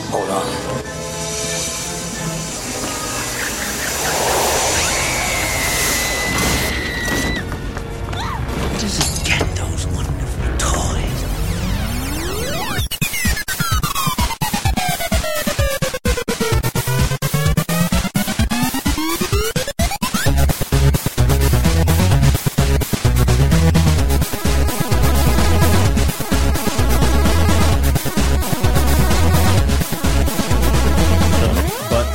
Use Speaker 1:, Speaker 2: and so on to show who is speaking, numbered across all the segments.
Speaker 1: Hold on. Does it get those wonderful toys?
Speaker 2: But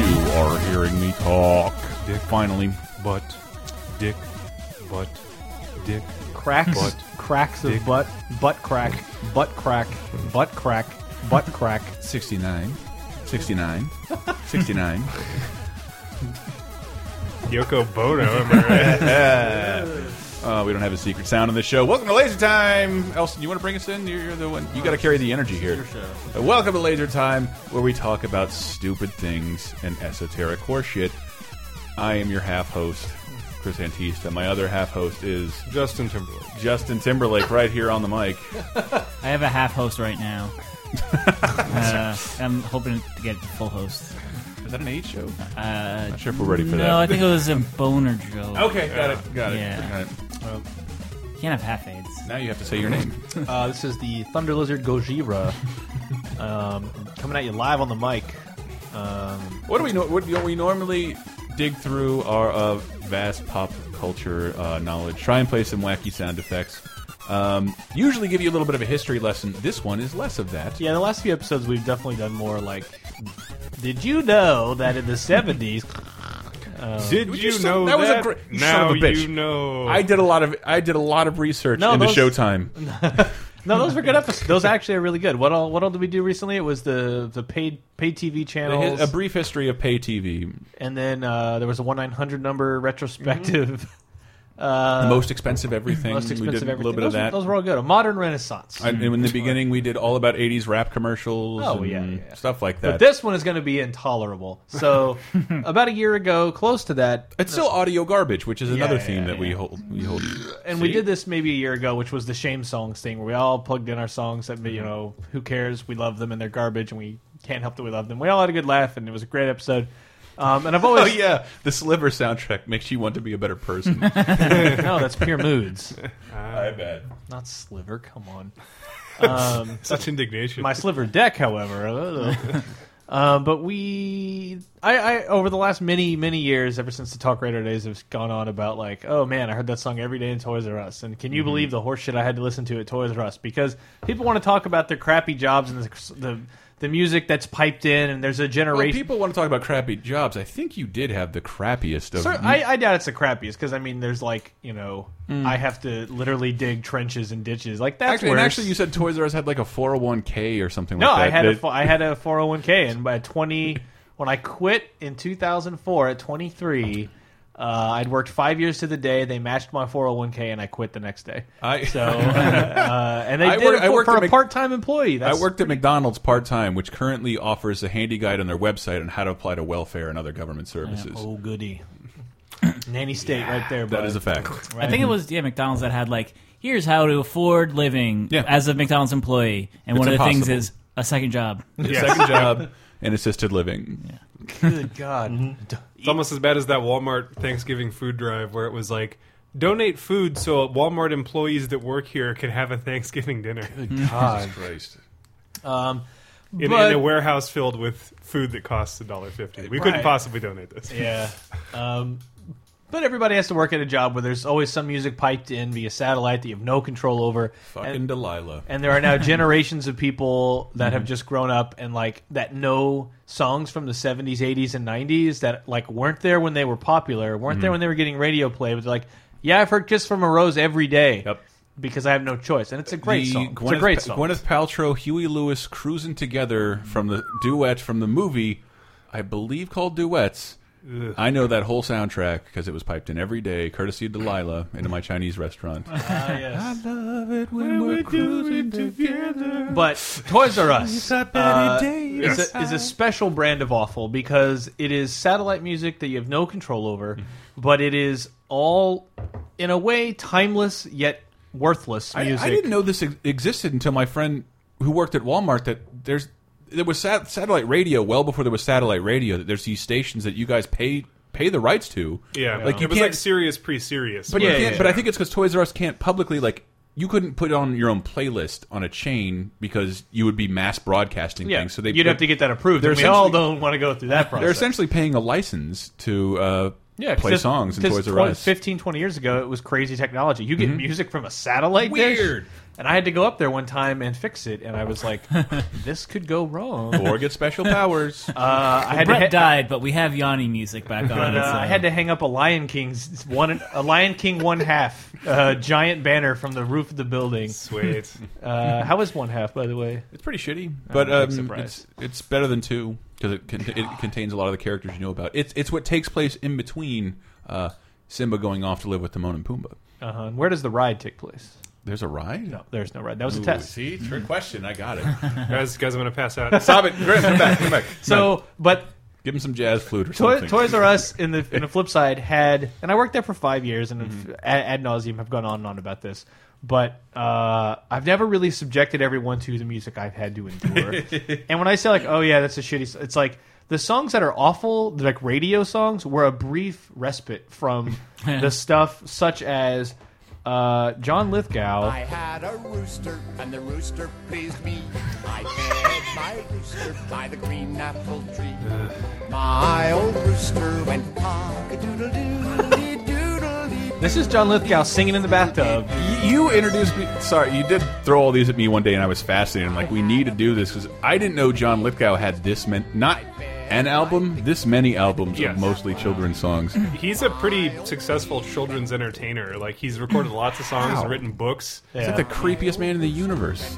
Speaker 2: you are hearing me talk. Dick. Finally.
Speaker 3: But dick, but dick,
Speaker 4: cracks,
Speaker 3: Butt.
Speaker 4: cracks of
Speaker 3: Dick.
Speaker 4: butt, butt crack, butt crack, butt crack, butt crack.
Speaker 2: 69. 69. 69.
Speaker 3: Yoko Bono. Am I right?
Speaker 2: Uh, we don't have a secret sound on the show. Welcome to Laser Time. Elson, you want to bring us in? You're, you're the one. You got to carry the energy here. Uh, welcome to Laser Time, where we talk about stupid things and esoteric horseshit. I am your half host, Chris Antista. My other half host is
Speaker 3: Justin Timberlake.
Speaker 2: Justin Timberlake, right here on the mic.
Speaker 5: I have a half host right now. uh, I'm hoping to get the full host.
Speaker 2: Is that an age show?
Speaker 5: Uh,
Speaker 2: Not sure if we're ready for
Speaker 5: no, I
Speaker 2: that.
Speaker 5: think it was a boner joke.
Speaker 2: Okay, got it, got it.
Speaker 5: Yeah.
Speaker 2: Got it.
Speaker 5: You can't have half aids.
Speaker 2: Now you have to say your name.
Speaker 6: Uh, this is the Thunder Lizard Gojira um, coming at you live on the mic. Um,
Speaker 2: What do we know? What do we normally dig through our uh, vast pop culture uh, knowledge? Try and play some wacky sound effects. Um, usually give you a little bit of a history lesson. This one is less of that.
Speaker 6: yeah, the last few episodes we've definitely done more like. Did you know that in the seventies?
Speaker 3: Did
Speaker 2: Would
Speaker 3: you,
Speaker 2: you son-
Speaker 3: know
Speaker 2: that was a great- you son
Speaker 3: now
Speaker 2: of a bitch.
Speaker 3: you know.
Speaker 2: I did a lot of I did a lot of research
Speaker 6: No,
Speaker 2: in
Speaker 6: those-
Speaker 2: the showtime.
Speaker 6: No, those were good episodes. Those actually are really good. What all? What all did we do recently? It was the the paid paid TV channels,
Speaker 2: A brief history of pay TV,
Speaker 6: and then uh, there was a one nine hundred number retrospective. Uh,
Speaker 2: Mm-hmm. most expensive everything.
Speaker 6: most expensive
Speaker 2: we did
Speaker 6: everything.
Speaker 2: a little bit
Speaker 6: those,
Speaker 2: of that.
Speaker 6: Those were all good. A modern renaissance.
Speaker 2: I- and in the beginning, we did all about '80s rap commercials.
Speaker 6: Oh,
Speaker 2: and
Speaker 6: yeah, yeah, yeah.
Speaker 2: stuff like that.
Speaker 6: But this one is going to be intolerable. So, about a year ago, close to that,
Speaker 2: it's still audio garbage, which is another
Speaker 6: yeah,
Speaker 2: theme
Speaker 6: yeah,
Speaker 2: that we
Speaker 6: yeah.
Speaker 2: hold. We hold.
Speaker 6: and we did this maybe a year ago, which was the shame songs thing, where we all plugged in our songs that
Speaker 2: Mm-hmm.
Speaker 6: you know, who cares? We love them and they're garbage, and we can't help that we love them. We all had a good laugh, and it was a great episode. Um, and I've
Speaker 2: Oh
Speaker 6: always
Speaker 2: yeah, the Sliver soundtrack makes you want to be a better person.
Speaker 6: no, that's pure moods,
Speaker 2: I bet.
Speaker 6: not sliver. Come on, um,
Speaker 3: Such indignation.
Speaker 6: my sliver deck, however. ugh. Um, but we, I, I, over the last many, many years, ever since the Talk Radio days, have gone on about like, oh man, I heard that song every day in Toys R Us, and can
Speaker 2: Mm-hmm.
Speaker 6: you believe the horseshit I had to listen to at Toys R Us? Because people want to talk about their crappy jobs and the, the, the music that's piped in, and there's a
Speaker 2: Well,
Speaker 6: generation.
Speaker 2: people want to talk about crappy jobs. I think you did have the crappiest of.
Speaker 6: Sir, I, I doubt it's the crappiest because I mean, there's like, you know, I have to literally dig trenches and ditches. Like that's
Speaker 2: Mm. actually, and
Speaker 6: worse.
Speaker 2: actually, you said Toys R Us had like a 401k or something
Speaker 6: No,
Speaker 2: like that.
Speaker 6: I had a
Speaker 2: that-
Speaker 6: fo- I had a 401k, and by 20, when I quit in 2004 at 23, uh, I'd worked five years to the day. They matched my 401k, and I quit the next day.
Speaker 2: I-
Speaker 6: so, uh, and they
Speaker 2: I
Speaker 6: did
Speaker 2: work-
Speaker 6: it
Speaker 2: I
Speaker 6: for,
Speaker 2: worked
Speaker 6: for
Speaker 2: at
Speaker 6: a
Speaker 2: Mc-
Speaker 6: part-time employee.
Speaker 2: I
Speaker 6: That's,
Speaker 2: worked at McDonald's part time, which currently offers a handy guide on their website on how to apply to welfare and other government services.
Speaker 6: Oh goody, nanny state right there.
Speaker 2: that
Speaker 6: bud.
Speaker 2: is a fact.
Speaker 5: I think it was yeah McDonald's that had like here's how to afford living
Speaker 2: Yeah.
Speaker 5: as a McDonald's employee, and one of the
Speaker 2: impossible.
Speaker 5: things is a second job.
Speaker 2: Second job Um, and assisted living.
Speaker 6: good God.
Speaker 2: Mm-hmm.
Speaker 3: It's almost as bad as that Walmart Thanksgiving food drive where it was like, donate food so Walmart employees that work here can have a Thanksgiving dinner in,
Speaker 2: Jesus Christ.
Speaker 6: Um,
Speaker 3: in
Speaker 6: but-
Speaker 3: a warehouse filled with food that costs a dollar fifty. We couldn't
Speaker 6: Right.
Speaker 3: possibly donate this.
Speaker 6: Yeah. Um, but everybody has to work at a job where there's always some music piped in via satellite that you have no control over.
Speaker 2: Fucking
Speaker 6: And-
Speaker 2: Delilah.
Speaker 6: and there are now generations of people that
Speaker 2: Mm-hmm.
Speaker 6: have just grown up and like that know songs from the 70s 80s and 90s that like weren't there when they were popular weren't
Speaker 2: Mm-hmm.
Speaker 6: there when they were getting radio play but they're like yeah i've heard kiss from a rose every day
Speaker 2: Yep.
Speaker 6: because i have no choice and it's a great
Speaker 2: the
Speaker 6: song
Speaker 2: Gwyneth,
Speaker 6: it's a great song
Speaker 2: Gwyneth Paltrow, Huey Lewis cruising together from the duet from the movie, I believe called Duets. I know that whole soundtrack because it was piped in every day, courtesy of Delilah, into my Chinese restaurant.
Speaker 6: Ah, yes.
Speaker 2: Love it when we're cruising together.
Speaker 6: but toys r us uh,
Speaker 2: Yes.
Speaker 6: is, a, is a special brand of awful because it is satellite music that you have no control over
Speaker 2: Mm-hmm.
Speaker 6: but it is all in a way timeless yet worthless
Speaker 2: I,
Speaker 6: music
Speaker 2: I didn't know this ex existed until my friend who worked at Walmart that there's there was sat satellite radio well before there was satellite radio. That there's these stations that you guys pay pay the rights to.
Speaker 3: Yeah,
Speaker 2: like you
Speaker 3: it was
Speaker 2: can't.
Speaker 3: like serious pre-serious.
Speaker 2: but you can't, but I think it's because Toys R Us can't publicly like. You couldn't put on your own playlist on a chain because you would be mass broadcasting
Speaker 6: Yeah,
Speaker 2: things. So they
Speaker 6: you'd have to get that approved.
Speaker 2: They're
Speaker 6: and we all
Speaker 2: essentially-
Speaker 6: don't want to go through that process.
Speaker 2: They're essentially paying a license to uh,
Speaker 6: Yeah, 'cause
Speaker 2: play
Speaker 6: this-
Speaker 2: songs in
Speaker 6: this
Speaker 2: Toys R
Speaker 6: 20
Speaker 2: Us. Mm-hmm.
Speaker 6: 15, 20 years ago, it was crazy technology. You get music from a satellite dish.
Speaker 2: Weird.
Speaker 6: And I had to go up there one time and fix it, and I was like, "This could go wrong." Uh,
Speaker 2: or get special powers.
Speaker 6: I had
Speaker 5: Brett
Speaker 6: to ha-
Speaker 5: died, but we have Yanni music back on.
Speaker 6: uh,
Speaker 5: so-
Speaker 6: I had to hang up a Lion King's one, a Lion King one half, uh, giant banner from the roof of the building.
Speaker 3: Sweet.
Speaker 6: Uh, how is one half, by the way?
Speaker 2: It's pretty shitty, but
Speaker 6: big
Speaker 2: um,
Speaker 6: surprise.
Speaker 2: it's it's better than two because it con it contains a lot of the characters you know about. It's it's what takes place in between uh, Simba going off to live with Timon and Pumbaa.
Speaker 6: Uh-huh. And where does the ride take place?
Speaker 2: There's a ride. Mm.
Speaker 6: No, there's no ride. That was a
Speaker 2: Ooh,
Speaker 6: test.
Speaker 2: See, trick question. I got it.
Speaker 3: guys, guys, I'm gonna pass out.
Speaker 2: Stop it, Grim. Come back. Come back. Come
Speaker 6: So, but
Speaker 2: back. give him some jazz flute or
Speaker 6: Toy,
Speaker 2: something.
Speaker 6: Toys R Us, in the in the flip side, had and I worked there for five years, and
Speaker 2: Mm-hmm.
Speaker 6: ad, ad nauseum have gone on and on about this. But uh, I've never really subjected everyone to the music I've had to endure. and when I say like, oh yeah, that's a shitty, s-" it's like the songs that are awful, like radio songs, were a brief respite from the stuff such as uh, John Lithgow.
Speaker 7: I had a rooster, and the rooster pleased me. I fed my rooster by the green apple tree. My old rooster went cock a doodle doodle doodle dee.
Speaker 6: This is John Lithgow singing in the bathtub.
Speaker 2: Y- You introduced me. Sorry, you did throw all these at me one day, and I was fascinated. I'm like, we need to do this because I didn't know John Lithgow had this many, not an album, this many albums
Speaker 3: Yes.
Speaker 2: of mostly children's songs.
Speaker 3: He's a pretty successful children's entertainer. Like he's recorded lots of songs, and written books.
Speaker 2: He's like the creepiest man in the universe.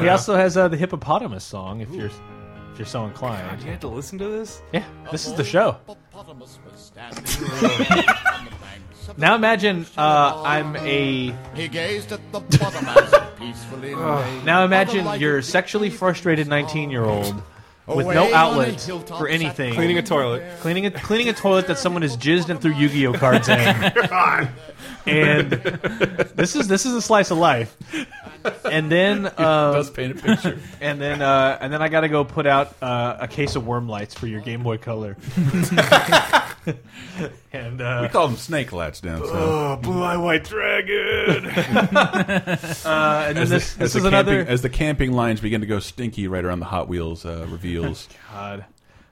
Speaker 6: He also has uh, the hippopotamus song. If you're if you're so inclined,
Speaker 3: You had to listen to this.
Speaker 6: yeah, this is the show.
Speaker 7: Hippopotamus was standing on the banks of
Speaker 6: Now imagine uh, I'm a.
Speaker 7: He gazed at the bottom as it peacefully lay.
Speaker 6: Now imagine you're sexually frustrated 19 year old with no outlet for anything,
Speaker 3: Cleaning a toilet.
Speaker 6: cleaning a cleaning a toilet that someone has jizzed and threw Yu-Gi-Oh cards in. and this is this is a slice of life. And then uh,
Speaker 2: Does paint a picture.
Speaker 6: and then uh, and then I got to go put out uh, a case of worm lights for your Game Boy Color. and uh,
Speaker 2: We call them snake lights down south.
Speaker 3: Oh, blue eye white dragon.
Speaker 6: and then this
Speaker 2: As
Speaker 6: this
Speaker 2: the,
Speaker 6: is
Speaker 2: camping,
Speaker 6: another
Speaker 2: as the camping lines begin to go stinky right around the Hot Wheels uh, reveals.
Speaker 6: God.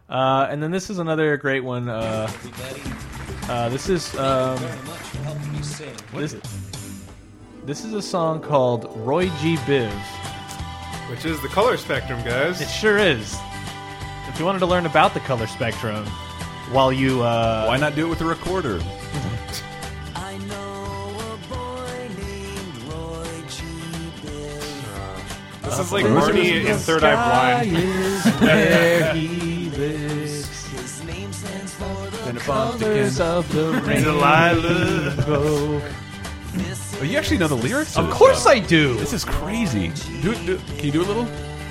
Speaker 6: Uh, and then this is another great one. Uh, uh, this is um, this, this is a song called Roy G. Biv.
Speaker 3: Which is the color spectrum,
Speaker 6: It
Speaker 3: guys.
Speaker 6: sure is. If you wanted to learn about the color spectrum, while you uh,
Speaker 2: Why not do it with a recorder?
Speaker 1: I know a boy named Roy G. Biv.
Speaker 3: This is like Marnie in Third Eye Blind.
Speaker 6: where he lives,
Speaker 1: His name stands for the
Speaker 2: Then it bumped
Speaker 6: colors
Speaker 2: again.
Speaker 6: of the
Speaker 3: Delilah.
Speaker 6: rainbow.
Speaker 2: Oh, you actually know the lyrics?
Speaker 6: Of course I do.
Speaker 2: This is crazy. Do, it- do, can you do a little?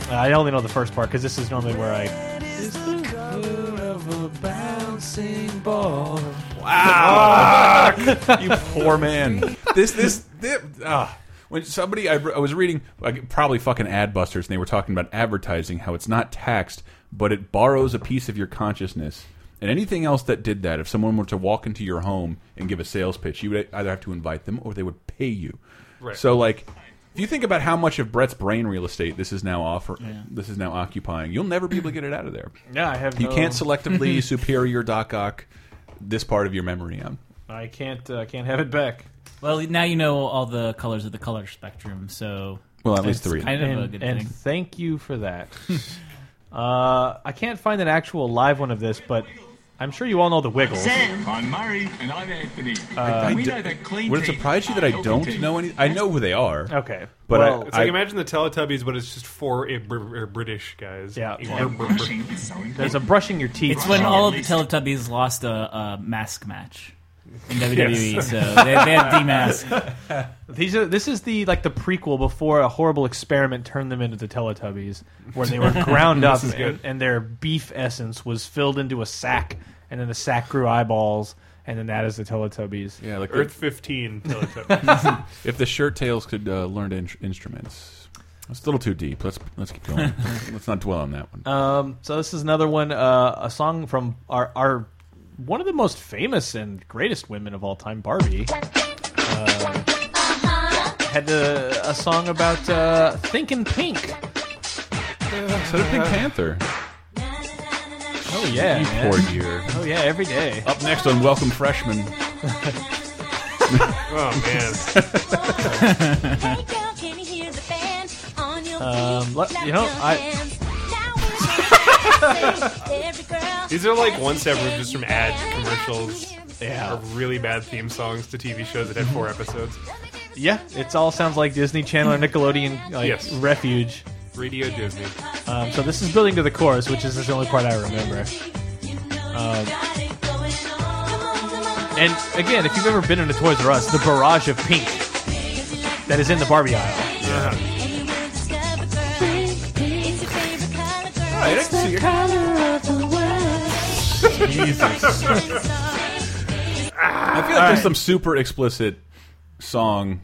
Speaker 6: I only know the first part because this is normally where I
Speaker 2: you poor man. This this, this ah. when somebody I, I was reading like, probably fucking Adbusters and they were talking about advertising how it's not taxed but it borrows a piece of your consciousness and anything else that did that if someone were to walk into your home and give a sales pitch you would e, either have to invite them or they would pay you.
Speaker 3: Right.
Speaker 2: So like if you think about how much of Brett's brain real estate this is now offer this is now occupying you'll never be able to get it out of there.
Speaker 6: yeah I have
Speaker 2: You
Speaker 6: no-
Speaker 2: can't selectively superior doc ock this part of your memory um. on.
Speaker 6: I can't uh, can't have it back.
Speaker 5: well, now you know all the colors of the color spectrum. So
Speaker 2: Well, at least
Speaker 5: it's
Speaker 2: three.
Speaker 5: Kind of a
Speaker 6: and,
Speaker 5: good
Speaker 6: and
Speaker 5: thing.
Speaker 6: thank you for that. uh, I can't find an actual live one of this, but I'm sure you all know the Wiggles.
Speaker 8: I'm Murray and I'm Anthony.
Speaker 2: I
Speaker 8: we
Speaker 2: d-
Speaker 8: know that clean
Speaker 2: Would it
Speaker 8: teeth
Speaker 2: surprise you
Speaker 8: are
Speaker 2: that I
Speaker 8: healthy
Speaker 2: don't
Speaker 8: teeth.
Speaker 2: know any? I know who they are.
Speaker 6: Okay,
Speaker 2: But
Speaker 6: well,
Speaker 2: I-
Speaker 3: It's like imagine the Teletubbies, but it's just for a Br- British guys.
Speaker 6: Yeah.
Speaker 3: Br-
Speaker 6: Yeah.
Speaker 3: br- br-
Speaker 8: Brushing is so
Speaker 6: there's
Speaker 8: important.
Speaker 6: a brushing your teeth.
Speaker 5: It's when
Speaker 8: Wow.
Speaker 5: all of
Speaker 8: At
Speaker 5: the
Speaker 8: least.
Speaker 5: Teletubbies lost a, a mask match in WWE, so they, they have demasked.
Speaker 6: These are this is the like the prequel before a horrible experiment turned them into the Teletubbies, where they were ground up and, and their beef essence was filled into a sack, and then the sack grew eyeballs, and then that is the Teletubbies.
Speaker 2: Yeah, like
Speaker 3: Earth 15 Teletubbies.
Speaker 2: if the shirt tails could uh, learn to in- instruments. It's a little too deep. Let's let's keep going. let's not dwell on that one.
Speaker 6: Um, so this is another one, uh, a song from our, our one of the most famous and greatest women of all time, Barbie. Uh, had a, a song about uh, Thinkin' Pink.
Speaker 2: so did Pink Panther.
Speaker 6: Oh yeah,
Speaker 2: you
Speaker 6: man.
Speaker 2: poor dear.
Speaker 6: oh yeah, every day.
Speaker 2: Up next on Welcome Freshman.
Speaker 3: Oh man.
Speaker 6: Um,
Speaker 9: Um,
Speaker 6: let- you know, I-
Speaker 9: These are like one step removed just from ad commercials.
Speaker 3: Are really bad theme songs to TV shows that had four episodes.
Speaker 6: Yeah, it all sounds like Disney Channel or Nickelodeon like
Speaker 3: Yes.
Speaker 6: refuge.
Speaker 3: Radio Disney.
Speaker 6: Um, so this is building to the chorus, which is the only part I remember.
Speaker 9: Um,
Speaker 6: And again, if you've ever been into Toys R Us, the barrage of pink that is in the Barbie aisle.
Speaker 2: I feel like there's some super explicit song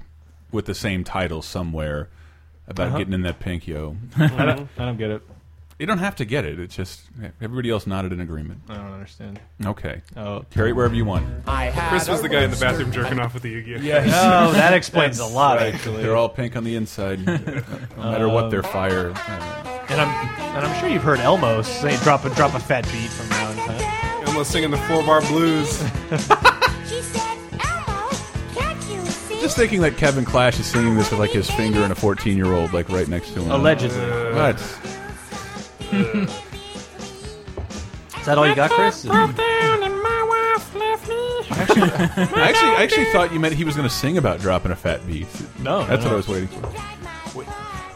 Speaker 2: with the same title somewhere about getting in that pink yo.
Speaker 6: I don't, I don't get it.
Speaker 2: you don't have to get it. It's just everybody else nodded in agreement.
Speaker 6: I don't understand.
Speaker 2: Okay.
Speaker 6: Oh,
Speaker 2: Carry it wherever you want.
Speaker 7: I had
Speaker 3: Chris was
Speaker 7: a
Speaker 3: the guy in the bathroom jerking off with the Yu-Gi-Oh.
Speaker 6: Oh, that explains a lot, actually.
Speaker 2: They're all pink on the inside, no matter what their fire. uh,
Speaker 6: And I'm and I'm sure you've heard Elmo say drop a drop a fat beat from now on. Time.
Speaker 3: Almost singing the four-bar blues.
Speaker 2: Just thinking that Kevin Clash is singing this with like his finger and a 14 year old like right next to him.
Speaker 6: Allegedly,
Speaker 3: Uh,
Speaker 2: What?
Speaker 6: is that all you got, Chris?
Speaker 2: I actually, I actually thought you meant he was going to sing about dropping a fat beat.
Speaker 6: No,
Speaker 2: That's
Speaker 6: no.
Speaker 2: what I was waiting for.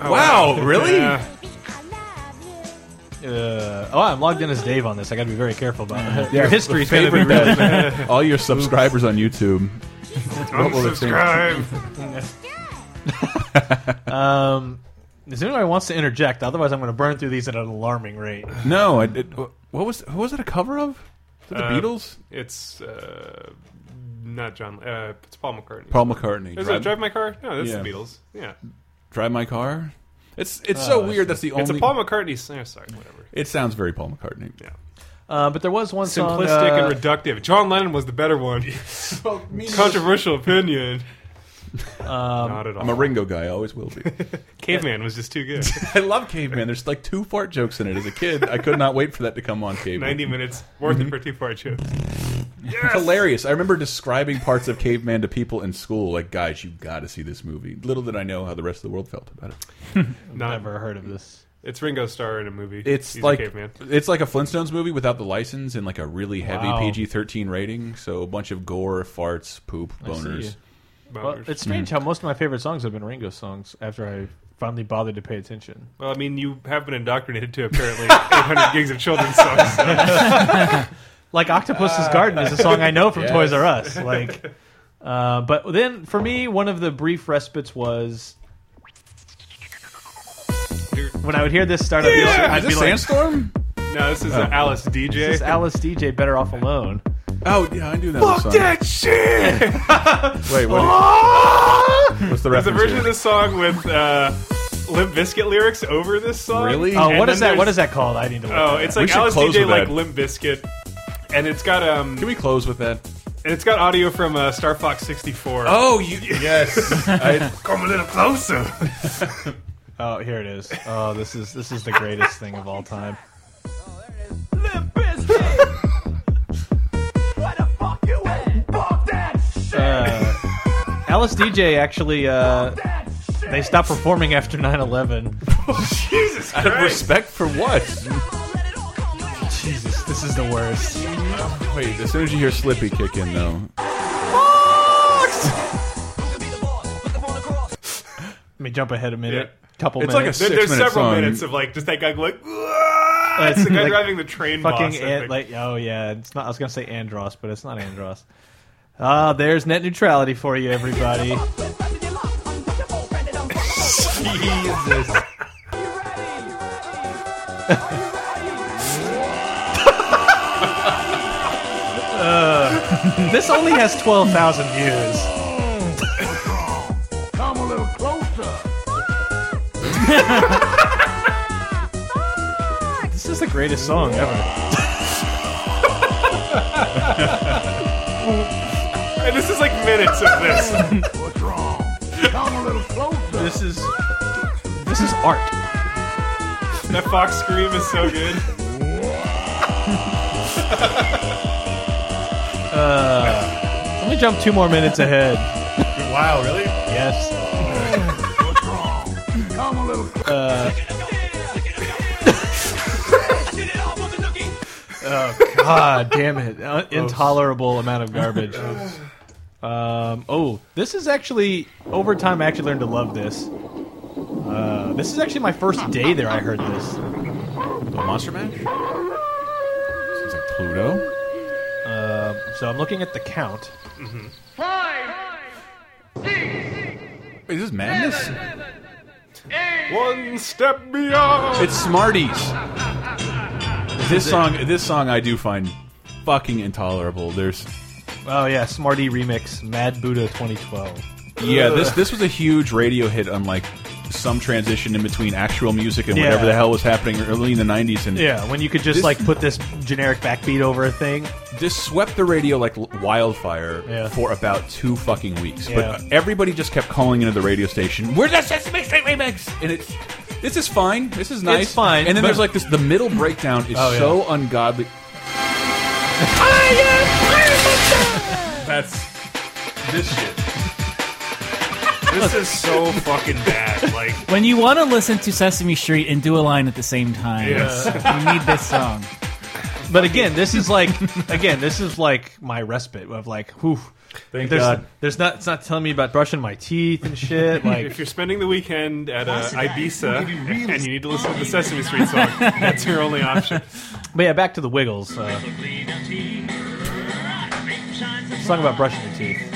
Speaker 2: wow, really?
Speaker 3: Oh, Yeah.
Speaker 6: Uh, oh, I'm logged in as Dave on this. I got to be very careful about it. Your history's gonna be really-
Speaker 2: that all your subscribers on YouTube. What will it say?
Speaker 3: Unsubscribe.
Speaker 6: Um, is anybody wants to interject? Otherwise, I'm going to burn through these at an alarming rate.
Speaker 2: No, I did. What was who was it a cover of? Was it the
Speaker 3: Uh,
Speaker 2: Beatles?
Speaker 3: It's uh, not John. Uh, it's Paul McCartney.
Speaker 2: Paul McCartney.
Speaker 3: Is
Speaker 2: Drive,
Speaker 3: that Drive My Car? No, that's
Speaker 2: Yeah.
Speaker 3: the Beatles. Yeah,
Speaker 2: Drive my car. It's it's so weird. That's the only.
Speaker 3: Oh, it's a Paul McCartney. song. Sorry, whatever.
Speaker 2: It sounds very Paul McCartney.
Speaker 3: Yeah.
Speaker 6: Uh, but there was one song.
Speaker 3: Simplistic
Speaker 6: uh,
Speaker 3: and reductive. John Lennon was the better one. Controversial opinion. not at all.
Speaker 2: I'm a Ringo guy. I always will be.
Speaker 3: Caveman was just too good.
Speaker 2: I love Caveman. There's like two fart jokes in it. As a kid, I could not wait for that to come on Caveman.
Speaker 3: 90 minutes worth
Speaker 2: Mm-hmm.
Speaker 3: it for two part jokes.
Speaker 2: It's hilarious. I remember describing parts of Caveman to people in school, like, guys, you got to see this movie. Little did I know how the rest of the world felt about it.
Speaker 3: Not,
Speaker 6: Never heard of this.
Speaker 3: It's Ringo Starr in a movie.
Speaker 2: It's
Speaker 3: He's
Speaker 2: like
Speaker 3: a caveman.
Speaker 2: it's like a Flintstones movie without the license and like a really heavy
Speaker 6: Wow.
Speaker 2: PG-13 rating. So a bunch of gore, farts, poop, boners.
Speaker 6: see. Well,
Speaker 3: Boners.
Speaker 6: it's strange how most of my favorite songs have been Ringo songs. After I finally bothered to pay attention.
Speaker 3: Well, I mean, you have been indoctrinated to apparently 800 gigs of children's songs. so-
Speaker 6: like Octopus's Garden is a song I know from
Speaker 2: yes.
Speaker 6: Toys R Us. Like, uh, but then for me, one of the brief respites was when I would hear this start. I'd be like, I'd
Speaker 2: Is this
Speaker 6: be like
Speaker 2: Sandstorm?
Speaker 3: No, this is uh, Alice DJ.
Speaker 6: this is Alice DJ better off alone.
Speaker 2: Oh yeah, I knew that. Fuck song. that shit! Wait, what?
Speaker 6: Ah!
Speaker 2: What's the
Speaker 3: There's
Speaker 2: reference?
Speaker 3: a version
Speaker 2: here?
Speaker 3: of this song with uh, Limp Bizkit lyrics over this song.
Speaker 2: Really?
Speaker 6: Oh,
Speaker 3: And
Speaker 6: what
Speaker 3: then
Speaker 6: is that?
Speaker 3: there's-
Speaker 6: What is that called? I need to. Look
Speaker 3: Oh, it's
Speaker 2: We
Speaker 3: like
Speaker 2: should
Speaker 3: Alice
Speaker 2: close
Speaker 3: DJ
Speaker 2: with
Speaker 3: like
Speaker 2: that.
Speaker 3: Limp Bizkit, and it's got um,
Speaker 2: Can we close with that?
Speaker 3: and it's got audio from uh, Star Fox 64.
Speaker 2: Oh, you yes. I,
Speaker 3: come a little closer.
Speaker 6: Oh, here it is. Oh, this is this is the greatest thing of all time. Uh, Alice DJ actually uh, they stopped performing after 9/11.
Speaker 3: Uh, Jesus
Speaker 2: out of
Speaker 3: Christ!
Speaker 2: respect for what?
Speaker 6: Jesus, this is the worst.
Speaker 2: Wait, as soon as you hear Slippy kick in, though,
Speaker 6: Let me jump ahead a minute.
Speaker 3: Yeah.
Speaker 6: Couple
Speaker 2: It's like
Speaker 6: minutes.
Speaker 2: a
Speaker 3: There-
Speaker 2: six
Speaker 3: there's
Speaker 2: minute
Speaker 3: several
Speaker 2: song.
Speaker 3: minutes of like just that guy going. "Whoa!" It's the guy
Speaker 6: Like,
Speaker 3: driving the train.
Speaker 6: fucking
Speaker 3: boss, I
Speaker 6: An-
Speaker 3: think.
Speaker 6: like oh yeah, it's not. I was gonna say Andros, but it's not Andros. Ah, there's net neutrality for you, everybody.
Speaker 3: Jesus.
Speaker 6: this only has twelve thousand views. This is the greatest song ever.
Speaker 3: And this is like minutes of this.
Speaker 6: This is this is art.
Speaker 3: That fox scream is so good.
Speaker 6: Let me jump two more minutes ahead.
Speaker 2: Wow, really?
Speaker 6: Yes.
Speaker 2: Uh,
Speaker 6: Oh, God damn it! Uh, intolerable amount of garbage. Um, oh, this is actually over time. I actually learned to love this. Uh, this is actually my first day there. I heard this.
Speaker 2: The Monster Mash? Sounds like Pluto.
Speaker 6: So I'm looking at the count.
Speaker 2: Wait, is this madness?
Speaker 3: One step beyond.
Speaker 2: It's Smarties. This song, this song, I do find fucking intolerable. There's,
Speaker 6: Oh yeah, Smarty remix, Mad Buddha 2012.
Speaker 2: yeah, this this was a huge radio hit, unlike some transition in between actual music and
Speaker 6: Yeah.
Speaker 2: whatever the hell was happening early in the '90s. And
Speaker 6: Yeah, when you could just
Speaker 2: This-
Speaker 6: like put this generic backbeat over a thing.
Speaker 2: this swept the radio like l- wildfire
Speaker 6: Yeah.
Speaker 2: for about two fucking weeks.
Speaker 6: Yeah.
Speaker 2: But everybody just kept calling into the radio station, "We're the Sesame Street remix," and it's this is fine. This is nice.
Speaker 6: fine,
Speaker 2: And then
Speaker 6: but-
Speaker 2: there's like this. The middle breakdown is
Speaker 6: Oh, yeah.
Speaker 2: so ungodly. That's this shit.
Speaker 3: This is so fucking bad. Like,
Speaker 5: When you want to listen to Sesame Street and do a line at the same time,
Speaker 3: Yes.
Speaker 5: you need this song.
Speaker 6: But again, this is like again, this is like my respite of like, whew.
Speaker 2: Thank
Speaker 6: there's,
Speaker 2: God.
Speaker 6: There's not. It's not telling me about brushing my teeth and shit. Like
Speaker 3: if you're spending the weekend at uh, Ibiza and you need to listen to the Sesame Street song, that's your only option.
Speaker 6: But yeah, back to the Wiggles. Uh, song about brushing your teeth.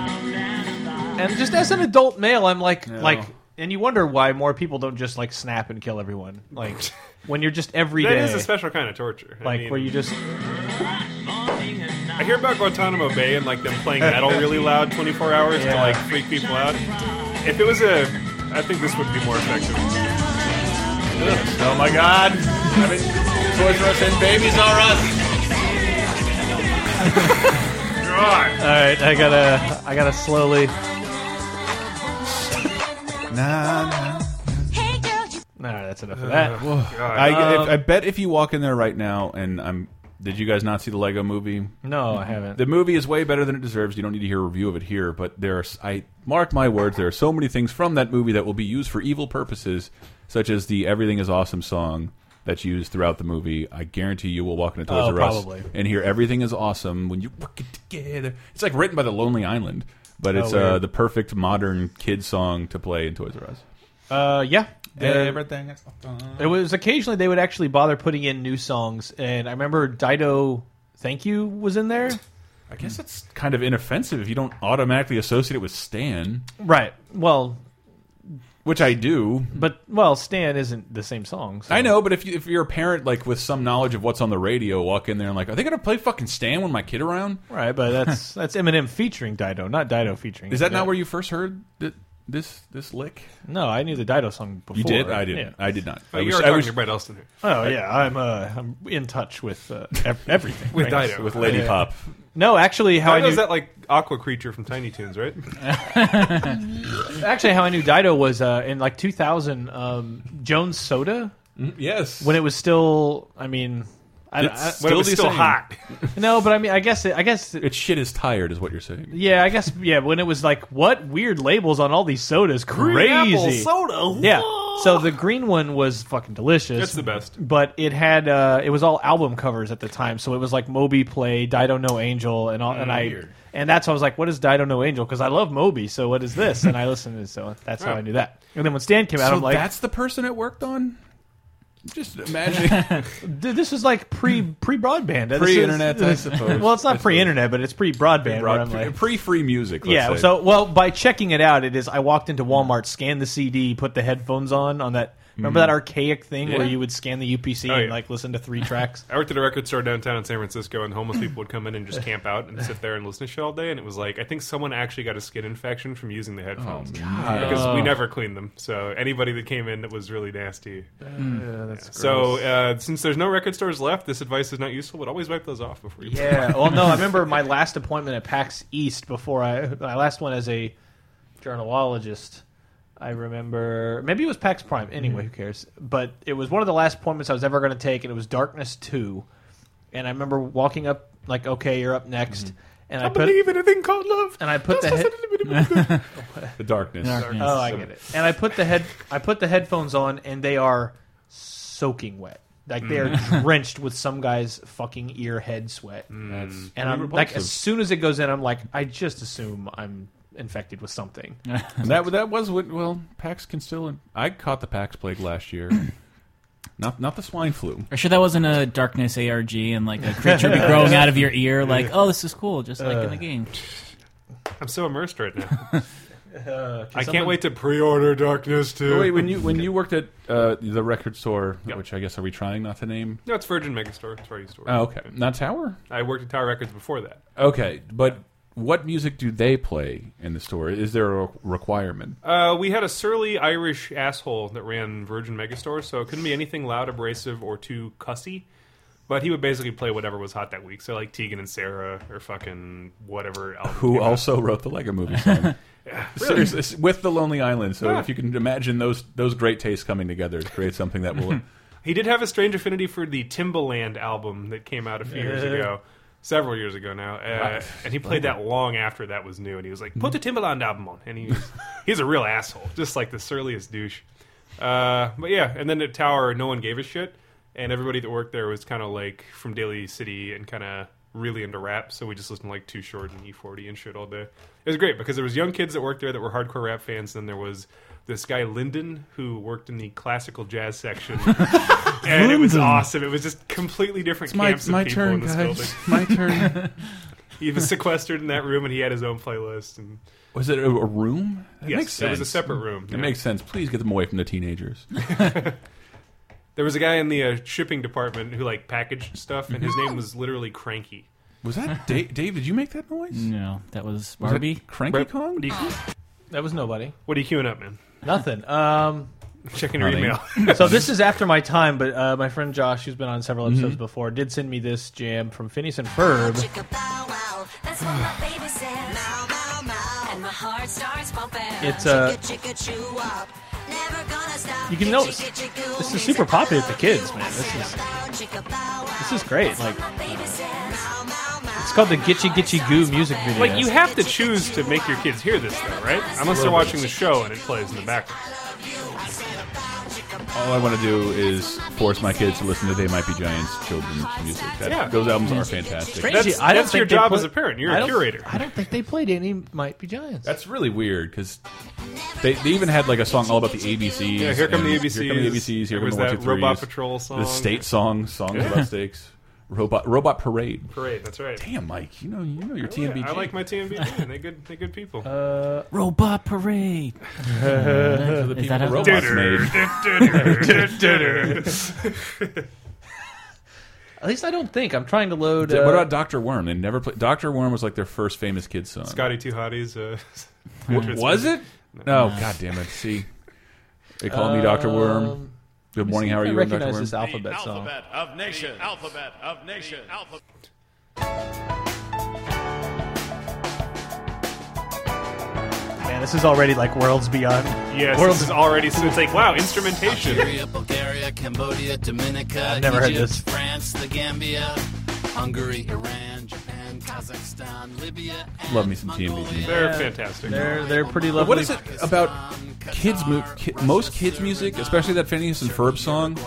Speaker 6: And just as an adult male, I'm like, like, and you wonder why more people don't just like snap and kill everyone. Like when you're just every
Speaker 3: That
Speaker 6: day,
Speaker 3: is a special kind of torture. I
Speaker 6: like
Speaker 3: mean,
Speaker 6: where you just
Speaker 3: I hear about Guantanamo Bay and like them playing metal really loud 24 hours to
Speaker 6: Yeah.
Speaker 3: like freak people out. If it was a, I think this would be more effective.
Speaker 2: Oh my God! I mean, Toys R Us and babies are us.
Speaker 6: all right. I gotta, I gotta slowly. All right, that's enough of
Speaker 3: Uh,
Speaker 6: that.
Speaker 2: I, if, I bet if you walk in there right now, and I'm. Did you guys not see the Lego movie?
Speaker 6: no, I haven't.
Speaker 2: The movie is way better than it deserves. You don't need to hear a review of it here, but there are, I mark my words, there are so many things from that movie that will be used for evil purposes, such as the Everything is Awesome song that's used throughout the movie. I guarantee you will walk into Toys
Speaker 6: Oh,
Speaker 2: R Us
Speaker 6: probably.
Speaker 2: and hear Everything is Awesome when you work it together. It's like written by the Lonely Island, but it's uh,
Speaker 6: Oh, weird.
Speaker 2: the perfect modern kid song to play in Toys R Us.
Speaker 6: Uh, yeah. Uh,
Speaker 2: Everything is awesome.
Speaker 6: It was occasionally they would actually bother putting in new songs, and I remember Dido Thank You was in there.
Speaker 2: I guess it's kind of inoffensive if you don't automatically associate it with Stan,
Speaker 6: Right. Well,
Speaker 2: which I do.
Speaker 6: but well, Stan isn't the same song. so-
Speaker 2: I know, but if you, if you're a parent like with some knowledge of what's on the radio, walk in there and like, are they gonna play fucking Stan when my kid around?
Speaker 6: Right, but that's that's Eminem featuring Dido, not Dido featuring.
Speaker 2: Is that not where you first heard th this this lick?
Speaker 6: No, I knew the Dido song before.
Speaker 2: You did? I didn't.
Speaker 6: Yeah.
Speaker 2: I did not.
Speaker 3: But
Speaker 2: I
Speaker 3: you
Speaker 2: was,
Speaker 3: were
Speaker 2: I
Speaker 3: talking
Speaker 2: was
Speaker 3: to Brett Elston here.
Speaker 6: Oh yeah, I'm uh, I'm in touch with uh, ev- everything.
Speaker 3: With
Speaker 6: right?
Speaker 3: Dido.
Speaker 2: with Lady Pop.
Speaker 6: No, actually, how
Speaker 3: How
Speaker 6: I knew
Speaker 3: does that like aqua creature from Tiny Toons, right?
Speaker 6: actually how I knew Dido was uh, in like 2000. Um, Jones Soda
Speaker 2: Yes.
Speaker 6: when it was still. I mean, I,
Speaker 2: It's
Speaker 6: I-
Speaker 3: But it
Speaker 2: Still
Speaker 3: was
Speaker 2: the
Speaker 3: still
Speaker 2: same.
Speaker 3: hot.
Speaker 6: no, but I mean, I guess it, I guess it-
Speaker 2: It's shit is tired, is what you're saying.
Speaker 6: Yeah, I guess. Yeah, when it was like, what weird labels on all these sodas? Crazy.
Speaker 3: soda.
Speaker 6: Yeah. So the green one was fucking delicious.
Speaker 3: That's the best.
Speaker 6: But it had uh, it was all album covers at the time, so it was like Moby Play, Dido No Angel, and all, and I and that's why I was like, what is Dido No Angel? Because I love Moby, so what is this? And I listened to it, so that's how I knew that. And then when Stan came out,
Speaker 2: So
Speaker 6: I'm like,
Speaker 2: that's the person it worked on. Just imagining.
Speaker 6: Dude, this is like pre eh? pre broadband,
Speaker 2: Hmm. Pre-internet, I suppose.
Speaker 6: Well, it's not
Speaker 2: That's
Speaker 6: pre internet, but it's pre broadband.
Speaker 2: broad-
Speaker 6: like,
Speaker 2: pre-free music. Let's
Speaker 6: yeah.
Speaker 2: say.
Speaker 6: So, well, by checking it out, it is. I walked into Walmart, scanned the CD, put the headphones on. On that, remember
Speaker 2: Hmm.
Speaker 6: that archaic thing where
Speaker 3: Yeah.
Speaker 6: you would scan the UPC
Speaker 3: Oh,
Speaker 6: and
Speaker 3: yeah.
Speaker 6: like listen to three tracks.
Speaker 3: I worked at a record store downtown in San Francisco, and homeless people would come in and just camp out and sit there and listen to shit all day. And it was like, I think someone actually got a skin infection from using the headphones
Speaker 6: Oh,
Speaker 3: because we never cleaned them. So anybody that came in that was really nasty. so uh, since there's no record stores left, this advice is not useful. But always wipe those off before you. play.
Speaker 6: Yeah. Well, no, I remember my last appointment at PAX East before I my last one as a journalologist. I remember maybe it was PAX Prime. Anyway, who cares? But it was one of the last appointments I was ever going to take, and it was Darkness Two. And I remember walking up like, "Okay, you're up next." And I, put
Speaker 3: Believe in a thing called love.
Speaker 6: and I put the head.
Speaker 2: the darkness.
Speaker 5: Darkness.
Speaker 6: Oh, I get it. And I put the head. I put the headphones on, and they are soaking wet. Like they are drenched with some guy's fucking ear head sweat.
Speaker 2: That's
Speaker 6: And I'm like, as soon as it goes in, I'm like, I just assume I'm infected with something.
Speaker 2: that that was what. Well, PAX can still. I caught the PAX plague last year. not not the swine flu.
Speaker 5: Are you sure that wasn't a darkness ARG and like a creature be growing out of your ear? Like, oh, this is cool, just like in
Speaker 2: Uh.
Speaker 5: the game.
Speaker 3: I'm so immersed right now. I
Speaker 6: Uh, someone-
Speaker 3: can't wait to pre-order Darkness too.
Speaker 2: Wait, when you when you worked at uh, the record store, which I guess are we trying not to name?
Speaker 3: No, it's Virgin Megastore. It's where I used to work.
Speaker 2: Oh, okay, not Tower.
Speaker 3: I worked at Tower Records before that.
Speaker 2: Okay, but what music do they play in the store? Is there a requirement?
Speaker 3: Uh, we had a surly Irish asshole that ran Virgin Megastore, so it couldn't be anything loud, abrasive, or too cussy. But he would basically play whatever was hot that week. So like Tegan and Sarah, or fucking whatever. Album
Speaker 2: Who
Speaker 3: came out.
Speaker 2: also wrote the Lego Movie song? Seriously, it's with the Lonely Island. So
Speaker 3: Yeah.
Speaker 2: if you can imagine those those great tastes coming together to create something that will.
Speaker 3: He did have a strange affinity for the Timbaland album that came out a few years ago, several years ago now. Uh, and he played that long after that was new. And he was like, "Put the Timbaland album on," and he was, he's a real asshole, just like the surliest douche. Uh, but yeah, and then at Tower, no one gave a shit, and everybody that worked there was kind of like from Daly City and kind of really into rap. So we just listened to like Too Short and E40 and shit all day. It was great because there was young kids that worked there that were hardcore rap fans. And then there was this guy Lyndon who worked in the classical jazz section, and it was awesome. It was just completely different camps of people in this building.
Speaker 2: My turn.
Speaker 3: He was sequestered in that room, and he had his own playlist. And
Speaker 2: Was it a, a room? That
Speaker 3: yes,
Speaker 2: makes
Speaker 3: it was
Speaker 2: sense.
Speaker 3: a separate room.
Speaker 2: It makes sense. Please get them away from the teenagers.
Speaker 3: There was a guy in the uh, shipping department who like packaged stuff, and his name was literally Cranky.
Speaker 2: Was that da Dave? Did you make that noise?
Speaker 5: No, that was
Speaker 2: Was that
Speaker 5: Barbie.
Speaker 2: Cranky Kong?
Speaker 6: That was nobody.
Speaker 3: What are you queuing up, man?
Speaker 6: Nothing. Um,
Speaker 3: Checking your
Speaker 2: Nothing.
Speaker 3: email.
Speaker 6: so this is after my time, but uh, my friend Josh, who's been on several
Speaker 2: Mm-hmm.
Speaker 6: episodes before, did send me this jam from Phineas and Ferb. It's,
Speaker 9: It's
Speaker 6: uh,
Speaker 9: a.
Speaker 6: you
Speaker 9: You
Speaker 6: can
Speaker 9: can
Speaker 6: notice,
Speaker 9: notice
Speaker 6: this
Speaker 9: this
Speaker 6: is
Speaker 9: is
Speaker 6: super
Speaker 9: super popular
Speaker 6: popular with
Speaker 9: for
Speaker 6: the kids,
Speaker 9: kids,
Speaker 6: man.
Speaker 9: man.
Speaker 6: This
Speaker 9: This
Speaker 6: is-
Speaker 9: is
Speaker 6: This is great. Like
Speaker 9: it's
Speaker 6: it's called the Gitchy Gitchy Goo music video.
Speaker 3: Like you have to choose to make your kids hear this, though, right? Unless they're watching the show and it plays in the background.
Speaker 2: All I want to do is force my kids to listen to They Might Be Giants children's music. That,
Speaker 3: Yeah.
Speaker 2: Those albums are fantastic.
Speaker 6: Crazy.
Speaker 3: That's,
Speaker 6: I don't
Speaker 3: that's your
Speaker 6: think they
Speaker 3: job
Speaker 6: put-
Speaker 3: as a parent. You're
Speaker 6: I
Speaker 3: a
Speaker 6: don't-
Speaker 3: curator.
Speaker 6: I don't think they played any. Might be giants.
Speaker 2: That's really weird because they, they even had like a song all about the ABCs.
Speaker 3: Yeah, here come
Speaker 2: and
Speaker 3: the
Speaker 2: Here come the
Speaker 3: ABCs.
Speaker 2: ABCs. Here
Speaker 3: There
Speaker 2: come
Speaker 3: was
Speaker 2: the one,
Speaker 3: that
Speaker 2: two, threes.
Speaker 3: Robot Patrol song.
Speaker 2: The state song, songs about stakes. Robot Robot Parade.
Speaker 3: Parade. That's right.
Speaker 2: Damn, Mike, you know you know your
Speaker 3: Oh, Yeah,
Speaker 2: TMBG.
Speaker 3: I like my TMBG. and they good. They good people.
Speaker 2: Uh,
Speaker 5: Robot Parade.
Speaker 2: the
Speaker 5: Is
Speaker 2: people
Speaker 5: that how-
Speaker 2: robots made.
Speaker 6: At least I don't think. I'm trying to load.
Speaker 2: Did-
Speaker 6: uh,
Speaker 2: what about Doctor Worm? They never played. Doctor Worm was like their first famous kids song.
Speaker 3: Scotty Two Hotties. Uh,
Speaker 2: Hmm. was it? No, god damn it. See, they call me Doctor Worm.
Speaker 6: um,
Speaker 2: Good morning. How are you,
Speaker 6: I
Speaker 2: I'm Doctor
Speaker 6: recognize
Speaker 2: Worm?
Speaker 6: this alphabet song.
Speaker 10: of nation. Alphabet of nation. Alphabet.
Speaker 6: Man, this is already like worlds beyond.
Speaker 3: Yes,
Speaker 6: Worlds-
Speaker 3: this is already. So it's like wow, instrumentation.
Speaker 1: Bulgaria, Cambodia, Dominica,
Speaker 6: I've never heard
Speaker 1: Egypt,
Speaker 6: this.
Speaker 1: France, the Gambia, Hungary, Iran, Japan, Kazakhstan, Libya. and
Speaker 2: Love me some
Speaker 1: Mongolia.
Speaker 2: TMBG.
Speaker 3: They're fantastic.
Speaker 6: They're they're pretty lovely.
Speaker 2: But what is it about kids? Mu- ki- most kids' music, especially that Phineas and Ferb song,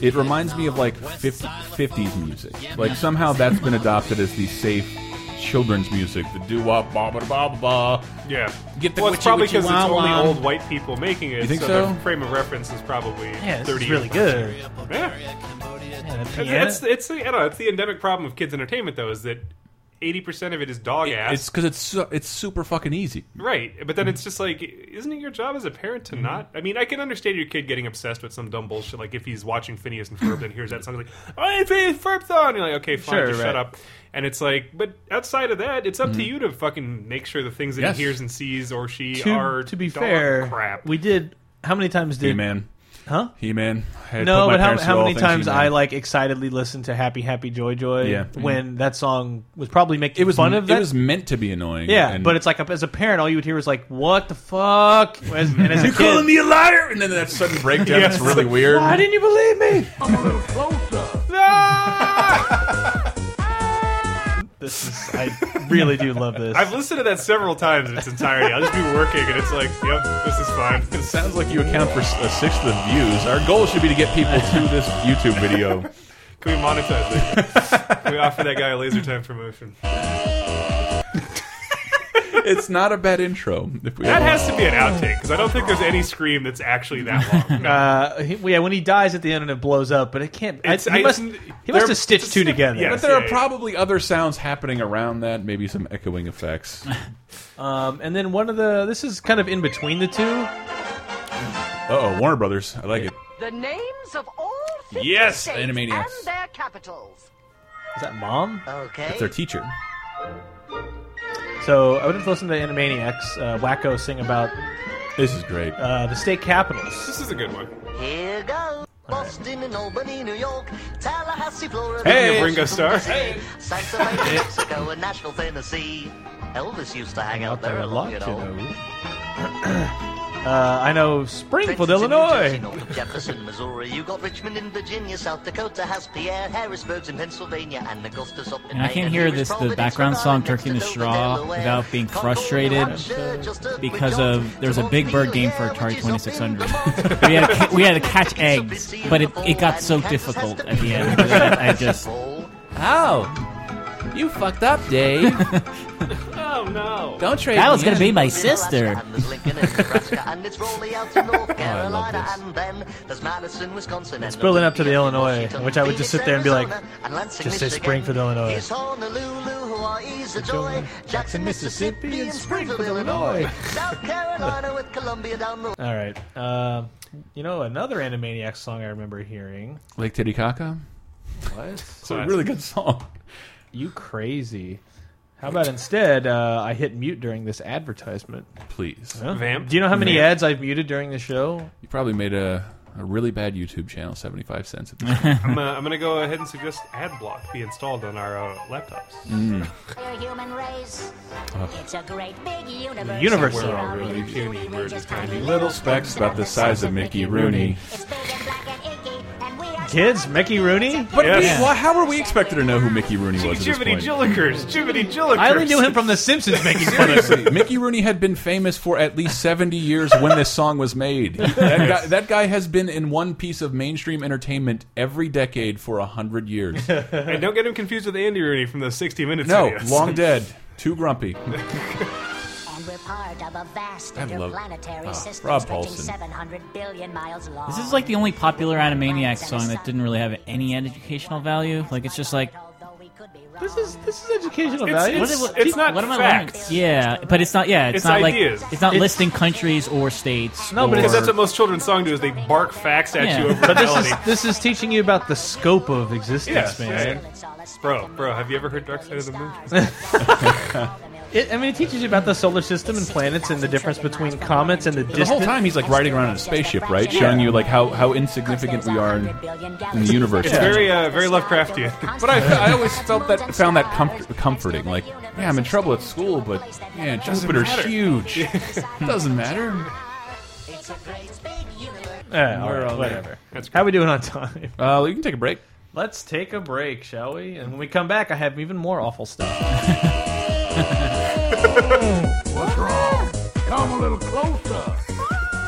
Speaker 2: it reminds me of like 50, 50s music. Like somehow that's been adopted as the safe children's music, the doo wop, ba ba ba ba ba.
Speaker 3: Yeah.
Speaker 2: Get the
Speaker 3: well, it's
Speaker 2: witchy,
Speaker 3: probably
Speaker 2: witchy,
Speaker 3: because it's
Speaker 2: wah,
Speaker 3: only
Speaker 2: wah.
Speaker 3: old white people making it.
Speaker 2: You think so?
Speaker 3: The frame of reference is probably
Speaker 6: Yeah, this is
Speaker 3: 30
Speaker 6: really
Speaker 3: years
Speaker 6: good.
Speaker 3: old. Yeah.
Speaker 6: Yeah, the piano-
Speaker 3: It's, it's, the, I don't know, it's the endemic problem of kids' entertainment, though, is that 80% of it is dog ass.
Speaker 2: It's because it's su it's super fucking easy.
Speaker 3: Right, but then
Speaker 6: Hmm.
Speaker 3: it's just like, isn't it your job as a parent to not? I mean, I can understand your kid getting obsessed with some dumb bullshit. Like if he's watching Phineas and Ferb and hears that song, like, "I Phineas Ferb song," you're like, "Okay, fine,
Speaker 6: Sure,
Speaker 3: just
Speaker 6: right. Hmm.
Speaker 3: shut up." And it's like, but outside of that, it's up to you to fucking make sure the things that
Speaker 2: Yes.
Speaker 3: he hears and sees or she
Speaker 6: to,
Speaker 3: are
Speaker 6: to be
Speaker 3: dog
Speaker 6: fair,
Speaker 3: crap.
Speaker 6: we did. How many times
Speaker 2: He
Speaker 6: did
Speaker 2: man,
Speaker 6: Huh?
Speaker 2: He man.
Speaker 6: No, but how, how many times I like excitedly listened to Happy Happy Joy Joy
Speaker 2: Yeah.
Speaker 6: when that song was probably making
Speaker 2: Mm-hmm. It was
Speaker 6: fun of that.
Speaker 2: It was meant to be annoying.
Speaker 6: yeah,
Speaker 2: and
Speaker 6: but it's like as a parent, all you would hear was like, "What the fuck?" As, and as a
Speaker 2: you're calling
Speaker 6: kid,
Speaker 2: me a liar, and then that sudden breakdown.
Speaker 3: Yes.
Speaker 2: It's really weird.
Speaker 6: why didn't you believe me? I'm a little closer. Ah! this is. I really do love this.
Speaker 3: I've listened to that several times in its entirety. I'll just be working, and it's like, yep, this is fine.
Speaker 2: It sounds like you account for a sixth of views. Our goal should be to get people to this YouTube video.
Speaker 3: Can we monetize it? Can we offer that guy a laser time promotion?
Speaker 2: it's not a bad intro. If we
Speaker 3: That
Speaker 2: ever-
Speaker 3: has to be an outtake because I don't think there's any scream that's actually that long.
Speaker 6: uh, he- yeah, when he dies at the end and it blows up, but it can't. I,
Speaker 3: It's-
Speaker 6: he
Speaker 3: I-
Speaker 6: must. He must
Speaker 3: there-
Speaker 6: have stitched two together.
Speaker 3: yeah.
Speaker 2: But there are
Speaker 3: Yeah.
Speaker 2: probably other sounds happening around that, maybe some echoing effects.
Speaker 6: Um, and then one of the. This is kind of in between the two.
Speaker 2: Uh oh, Warner Brothers. I like it.
Speaker 11: The names of all 50
Speaker 2: Yes,
Speaker 11: states
Speaker 2: Animaniacs.
Speaker 11: and their capitals.
Speaker 6: Is that mom?
Speaker 11: Okay.
Speaker 2: It's their teacher.
Speaker 6: So I would have listened to Animaniacs, uh, Wacko sing about
Speaker 2: This is great.
Speaker 6: uh, the state capitals.
Speaker 3: This is a good one.
Speaker 11: Here goes. Boston and Albany, New York, Tallahassee, Florida.
Speaker 3: Hey,
Speaker 11: Washington,
Speaker 3: Ringo Starr.
Speaker 11: D.C., Santa Fe, Mexico, and Nashville, Tennessee. Elvis used to hang out there a lot, you know.
Speaker 6: Uh, I know Springfield,
Speaker 11: Trenton's in New Jersey,
Speaker 6: Illinois.
Speaker 11: north of Jefferson, Missouri. You got Richmond in Virginia, South Dakota has Pierre, Harrisburg's in Pennsylvania, and Augustus up in
Speaker 5: And I
Speaker 11: Maine.
Speaker 5: can't
Speaker 11: And
Speaker 5: hear
Speaker 11: here is
Speaker 5: this the
Speaker 11: Providence,
Speaker 5: background
Speaker 11: Rhode
Speaker 5: song
Speaker 11: Island,
Speaker 5: Turkey in the
Speaker 11: Mexico,
Speaker 5: Straw
Speaker 11: Delaware.
Speaker 5: without being
Speaker 11: Concord, New
Speaker 5: frustrated
Speaker 11: Hampshire, just up with
Speaker 5: because
Speaker 11: Johnson,
Speaker 5: of there's a
Speaker 11: Toronto,
Speaker 5: big bird game for
Speaker 11: Delaware,
Speaker 5: Atari
Speaker 11: which is up in
Speaker 5: 2600.
Speaker 11: Vermont.
Speaker 5: we had to, we had to catch eggs, but it, it got so difficult at the end. that I just
Speaker 12: Oh, you fucked up, Dave.
Speaker 3: Oh no!
Speaker 12: Don't trade.
Speaker 5: that was
Speaker 12: me
Speaker 5: gonna
Speaker 12: in.
Speaker 5: be my sister. Oh,
Speaker 11: And there's Lincoln and Nebraska, and it's rolling out to North Carolina,
Speaker 5: this.
Speaker 11: and then there's Madison, Wisconsin. It's
Speaker 6: building up to the Illinois, which I would just sit there and be like, just say Springfield, Illinois.
Speaker 11: Here's Honolulu, Hawaii's a joy. Jackson, Mississippi, and Springfield, Illinois. South Carolina with Columbia down the.
Speaker 6: All right. Uh, you know another Animaniacs song I remember hearing.
Speaker 2: Lake Titicaca.
Speaker 6: What?
Speaker 2: It's a really good song.
Speaker 6: You crazy? How about instead? Uh, I hit mute during this advertisement.
Speaker 2: Please.
Speaker 6: Huh?
Speaker 3: Vamp?
Speaker 6: Do you know how many
Speaker 3: Vamp.
Speaker 6: ads I've muted during the show?
Speaker 2: You probably made a, a really bad YouTube channel, 75 cents at this point.
Speaker 3: I'm, uh, I'm gonna go ahead and suggest AdBlock be installed on our uh, laptops.
Speaker 6: Mm,
Speaker 9: We're human race. It's a great big universe.
Speaker 6: Universe.
Speaker 3: We're all
Speaker 9: Around
Speaker 3: really
Speaker 9: it.
Speaker 3: puny. We're just tiny.
Speaker 2: Little specks about the size of Mickey Rooney.
Speaker 9: It's big and black and icky, and we are
Speaker 6: Kids,
Speaker 9: smart
Speaker 6: Mickey
Speaker 9: and
Speaker 6: Rooney?
Speaker 9: it's a
Speaker 2: But
Speaker 3: Yes.
Speaker 2: we-
Speaker 5: Yeah.
Speaker 2: why- how were we expected to know who Mickey Rooney was at this
Speaker 3: Jibbity
Speaker 2: point?
Speaker 3: Jillikers! Jibbity Jillikers!
Speaker 6: I only knew him from The Simpsons making fun of
Speaker 2: Seriously, Mickey Rooney had been famous for at least 70 years when this song was made. That guy, that guy has been in one piece of mainstream entertainment every decade for 100 years.
Speaker 3: And don't get him confused with Andy Rooney from the 60 Minutes
Speaker 2: No,
Speaker 3: videos.
Speaker 2: long dead. Too grumpy.
Speaker 9: And we're part of a vast
Speaker 2: I love-
Speaker 9: interplanetary
Speaker 2: Ah,
Speaker 9: system
Speaker 2: Rob
Speaker 9: stretching
Speaker 2: Paulson.
Speaker 9: 700 billion miles long.
Speaker 5: This is like the only popular Animaniacs song that didn't really have any educational value. Like it's just like
Speaker 6: This is this is educational
Speaker 3: It's-
Speaker 6: value.
Speaker 3: it's- it's not
Speaker 5: what am I
Speaker 3: facts.
Speaker 5: learning? Yeah, but it's not. Yeah, it's,
Speaker 3: It's
Speaker 5: not
Speaker 3: ideas.
Speaker 5: like it's not
Speaker 6: It's-
Speaker 5: listing countries or states.
Speaker 6: No, but
Speaker 5: or-
Speaker 3: Because that's what most children's song do is they bark facts at
Speaker 5: Yeah.
Speaker 3: you over
Speaker 6: but this
Speaker 3: melody.
Speaker 6: is this is teaching you about the scope of
Speaker 3: Yes,
Speaker 6: existence, man.
Speaker 3: Bro, bro, have you ever heard Dark Side of the Moon?
Speaker 6: It, I mean, it teaches you about the solar system and planets and the difference between comets and the
Speaker 2: The
Speaker 6: distance.
Speaker 2: whole time he's like riding around in a spaceship, right? Showing you like how, how insignificant we are. In, in the universe.
Speaker 3: It's very, uh, very Lovecraftian.
Speaker 2: but I, I always felt that found that comfort, comforting. Like, yeah, I'm in trouble at school, but yeah, Jupiter's
Speaker 3: matter.
Speaker 2: huge. Doesn't matter.
Speaker 6: Eh, all right, whatever. How we doing on time?
Speaker 2: Uh, we can take a break.
Speaker 6: Let's take a break, shall we? And when we come back, I have even more awful stuff.
Speaker 7: What's wrong? Come a little closer.
Speaker 2: Okay,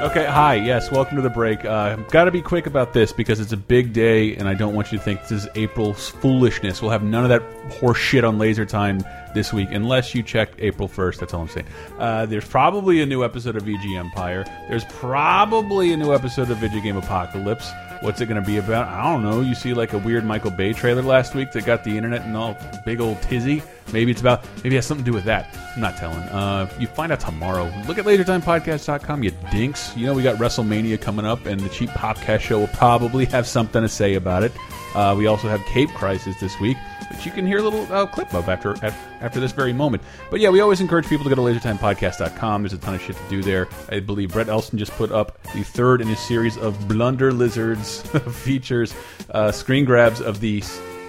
Speaker 2: Okay, hi. Yes, welcome to the break. Uh, Got to be quick about this because it's a big day, and I don't want you to think this is April's foolishness. We'll have none of that horse shit on Laser Time this week unless you check April 1st. That's all I'm saying. Uh, there's probably a new episode of VG Empire. There's probably a new episode of Video Game Apocalypse. What's it going to be about? I don't know. You see like a weird Michael Bay trailer last week that got the internet and all big old tizzy. Maybe it's about, maybe it has something to do with that. I'm not telling. Uh, you find out tomorrow. Look at lasertimepodcast.com, you dinks. You know, we got WrestleMania coming up, and the Cheap Popcast show will probably have something to say about it. Uh, we also have Cape Crisis this week, which you can hear a little uh, clip of after, af- after this very moment. But yeah, we always encourage people to go to lasertimepodcast.com. There's a ton of shit to do there. I believe Brett Elston just put up the third in a series of Blunder Lizards features, uh, screen grabs of the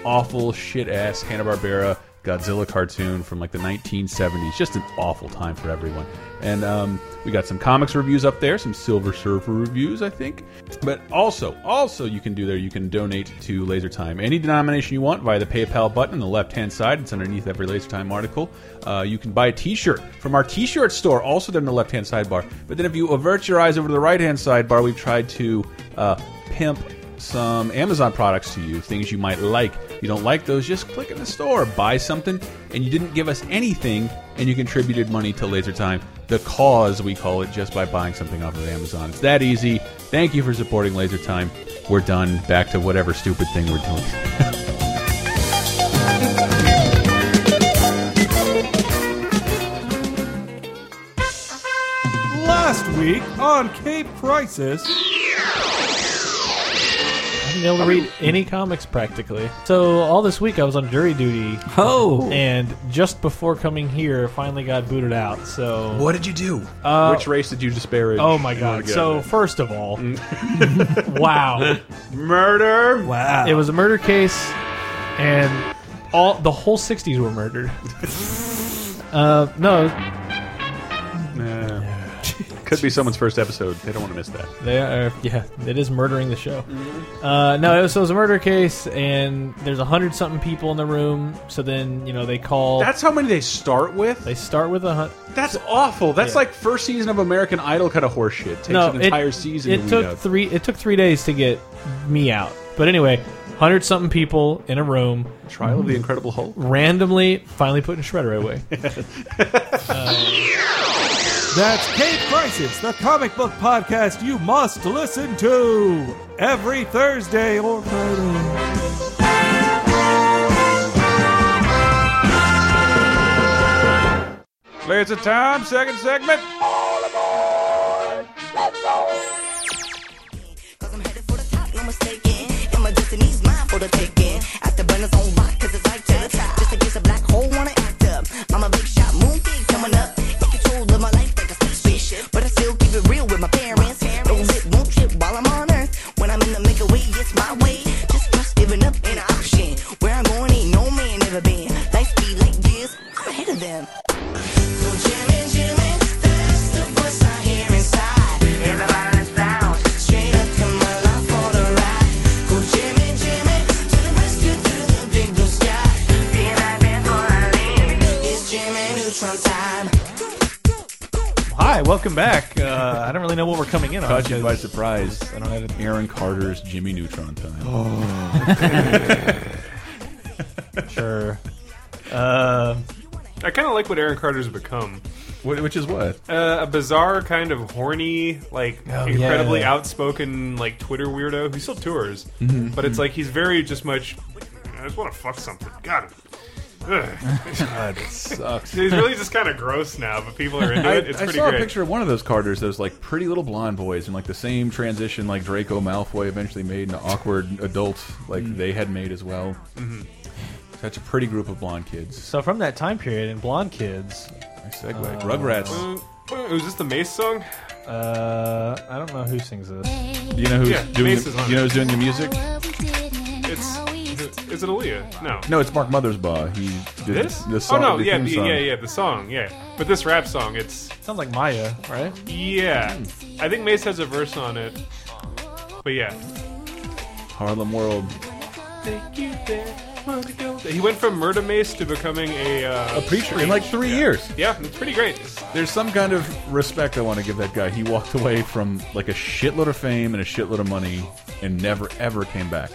Speaker 2: awful shit ass Hanna-Barbera Godzilla cartoon from like the 1970s. Just an awful time for everyone. And um, we got some comics reviews up there, some Silver Surfer reviews, I think. But also, also you can do there, you can donate to Laser Time. Any denomination you want via the PayPal button on the left hand side. It's underneath every Laser Time article. Uh, you can buy a t shirt from our t shirt store, also there in the left hand sidebar. But then if you avert your eyes over to the right hand sidebar, we've tried to uh, pimp some Amazon products to you, things you might like. You don't like those, just click in the store, buy something, and you didn't give us anything, and you contributed money to Laser Time, the cause we call it, just by buying something off of Amazon. It's that easy. Thank you for supporting Laser Time. We're done. Back to whatever stupid thing we're doing.
Speaker 13: Last week on Cape Crisis.
Speaker 6: I haven't been able to read any comics practically. So all this week I was on jury duty.
Speaker 13: Oh.
Speaker 6: And just before coming here, finally got booted out. So
Speaker 2: What did you do?
Speaker 6: Uh,
Speaker 2: Which race did you disparage?
Speaker 6: Oh my
Speaker 2: You wanna
Speaker 6: god!
Speaker 2: get
Speaker 6: So
Speaker 2: at it.
Speaker 6: first of all, wow,
Speaker 2: murder!
Speaker 13: Wow,
Speaker 6: it was a murder case, and all the whole '60s were murdered. uh, no,
Speaker 2: could be someone's first episode. They don't want to miss that.
Speaker 6: They are, yeah, it is murdering the show.
Speaker 2: Mm-hmm.
Speaker 6: Uh, no, it was, so it was a murder case, and there's a hundred something people in the room. So then, you know, they call.
Speaker 2: That's how many they start with.
Speaker 6: They start with a hundred.
Speaker 2: That's awful. That's
Speaker 6: Yeah.
Speaker 2: like first season of American Idol kind of horseshit. Takes
Speaker 6: no,
Speaker 2: an
Speaker 6: it-
Speaker 2: entire season.
Speaker 6: It
Speaker 2: to
Speaker 6: took
Speaker 2: weed out.
Speaker 6: three. It took three days to get me out. But anyway, hundred something people in a room.
Speaker 2: Trial of the Incredible Hulk.
Speaker 6: Randomly, finally putting Shredder away.
Speaker 13: That's Cape Crisis, the comic book podcast you must listen to every Thursday or Friday.
Speaker 2: Laser time, second segment.
Speaker 11: But I still keep it real with my parents. Don't zip, won't trip while I'm on earth. When I'm in the make a way, it's my way. Just trust giving up ain't an option. Where I'm going ain't no man ever been. Life be like this, I'm ahead of them. So jamming, jamming, that's the voice I hear inside. Hear the violence sound. Straight up to my life for the ride. Go jamming, jamming, to the rescue through the big blue sky. Being like man for a living. It's jamming neutron time.
Speaker 6: Hi, welcome back. Uh, I don't really know what we're coming in on.
Speaker 2: Caught you by
Speaker 6: because-
Speaker 2: surprise.
Speaker 6: I don't have
Speaker 2: Aaron Carter's Jimmy Neutron time.
Speaker 6: sure. Uh,
Speaker 3: I kind of like what Aaron Carter's become.
Speaker 2: Which is what?
Speaker 3: Uh, a bizarre kind of horny, like
Speaker 2: Oh,
Speaker 3: incredibly
Speaker 2: yeah.
Speaker 3: outspoken, like Twitter weirdo who still tours,
Speaker 2: Mhm.
Speaker 3: but it's
Speaker 2: Mhm.
Speaker 3: like he's very just much. I just want to fuck something. God,
Speaker 2: God, it sucks.
Speaker 3: he's really just kind of gross now, but people are into
Speaker 2: I,
Speaker 3: it. It's
Speaker 2: I
Speaker 3: pretty
Speaker 2: saw
Speaker 3: great.
Speaker 2: a picture of one of those Carters, those like pretty little blonde boys, in like the same transition like Draco Malfoy eventually made an awkward adult, like they had made as well.
Speaker 3: Mm-hmm.
Speaker 6: Mhm.
Speaker 2: Such a pretty group of blonde kids.
Speaker 6: So from that time period in Blonde Kids,
Speaker 2: nice segue. Rugrats.
Speaker 3: Uh, is this the Mace song?
Speaker 6: Uh, I don't know who sings this.
Speaker 2: Do you know who's
Speaker 3: Yeah,
Speaker 2: doing?
Speaker 3: Mace
Speaker 2: The,
Speaker 3: is on
Speaker 2: you know
Speaker 3: it.
Speaker 2: who's doing the music?
Speaker 3: It's is it Aaliyah? No.
Speaker 2: No, it's Mark Mothersbaugh. He did
Speaker 3: This?
Speaker 2: the song.
Speaker 3: oh no,
Speaker 2: the
Speaker 3: yeah,
Speaker 2: theme
Speaker 3: the,
Speaker 2: song.
Speaker 3: yeah, yeah, the song, yeah. But this rap song, it's
Speaker 6: sounds like Maya, right?
Speaker 3: Yeah,
Speaker 2: Hmm.
Speaker 3: I think Mace has a verse on it. But yeah,
Speaker 2: Harlem World.
Speaker 3: Take you there. He went from murder mace to becoming a uh,
Speaker 2: A preacher in like three years.
Speaker 3: Yeah, it's pretty great.
Speaker 2: There's some kind of respect I want to give that guy. He walked away from like a shitload of fame and a shitload of money and never ever came back.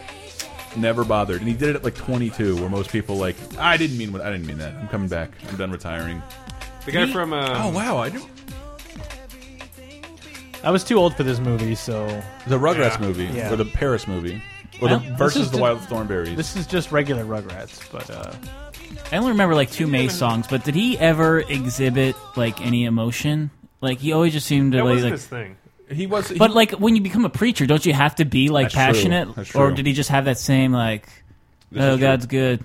Speaker 2: Never bothered. And he did it at like 22 where most people like I didn't mean what I didn't mean that. I'm coming back. I'm done retiring.
Speaker 3: The guy from uh,
Speaker 2: Oh wow, I do
Speaker 6: I was too old for this movie, so
Speaker 2: the Rugrats
Speaker 6: Yeah.
Speaker 2: movie
Speaker 6: Yeah.
Speaker 2: or the Paris movie or
Speaker 6: I
Speaker 2: the
Speaker 6: don't- this
Speaker 2: versus
Speaker 6: is
Speaker 2: the
Speaker 6: ju-
Speaker 2: Wild Thornberries.
Speaker 6: This is just regular Rugrats, but uh,
Speaker 5: I only remember like two Mace songs, but did he ever exhibit like any emotion? Like he always just seemed to
Speaker 3: that
Speaker 5: like,
Speaker 3: was
Speaker 5: like-
Speaker 3: his thing.
Speaker 2: He was,
Speaker 5: But like when you become a preacher, don't you have to be like
Speaker 3: That's true.
Speaker 5: passionate,
Speaker 3: That's
Speaker 5: or
Speaker 3: true.
Speaker 5: did he just have that same like, oh God's good?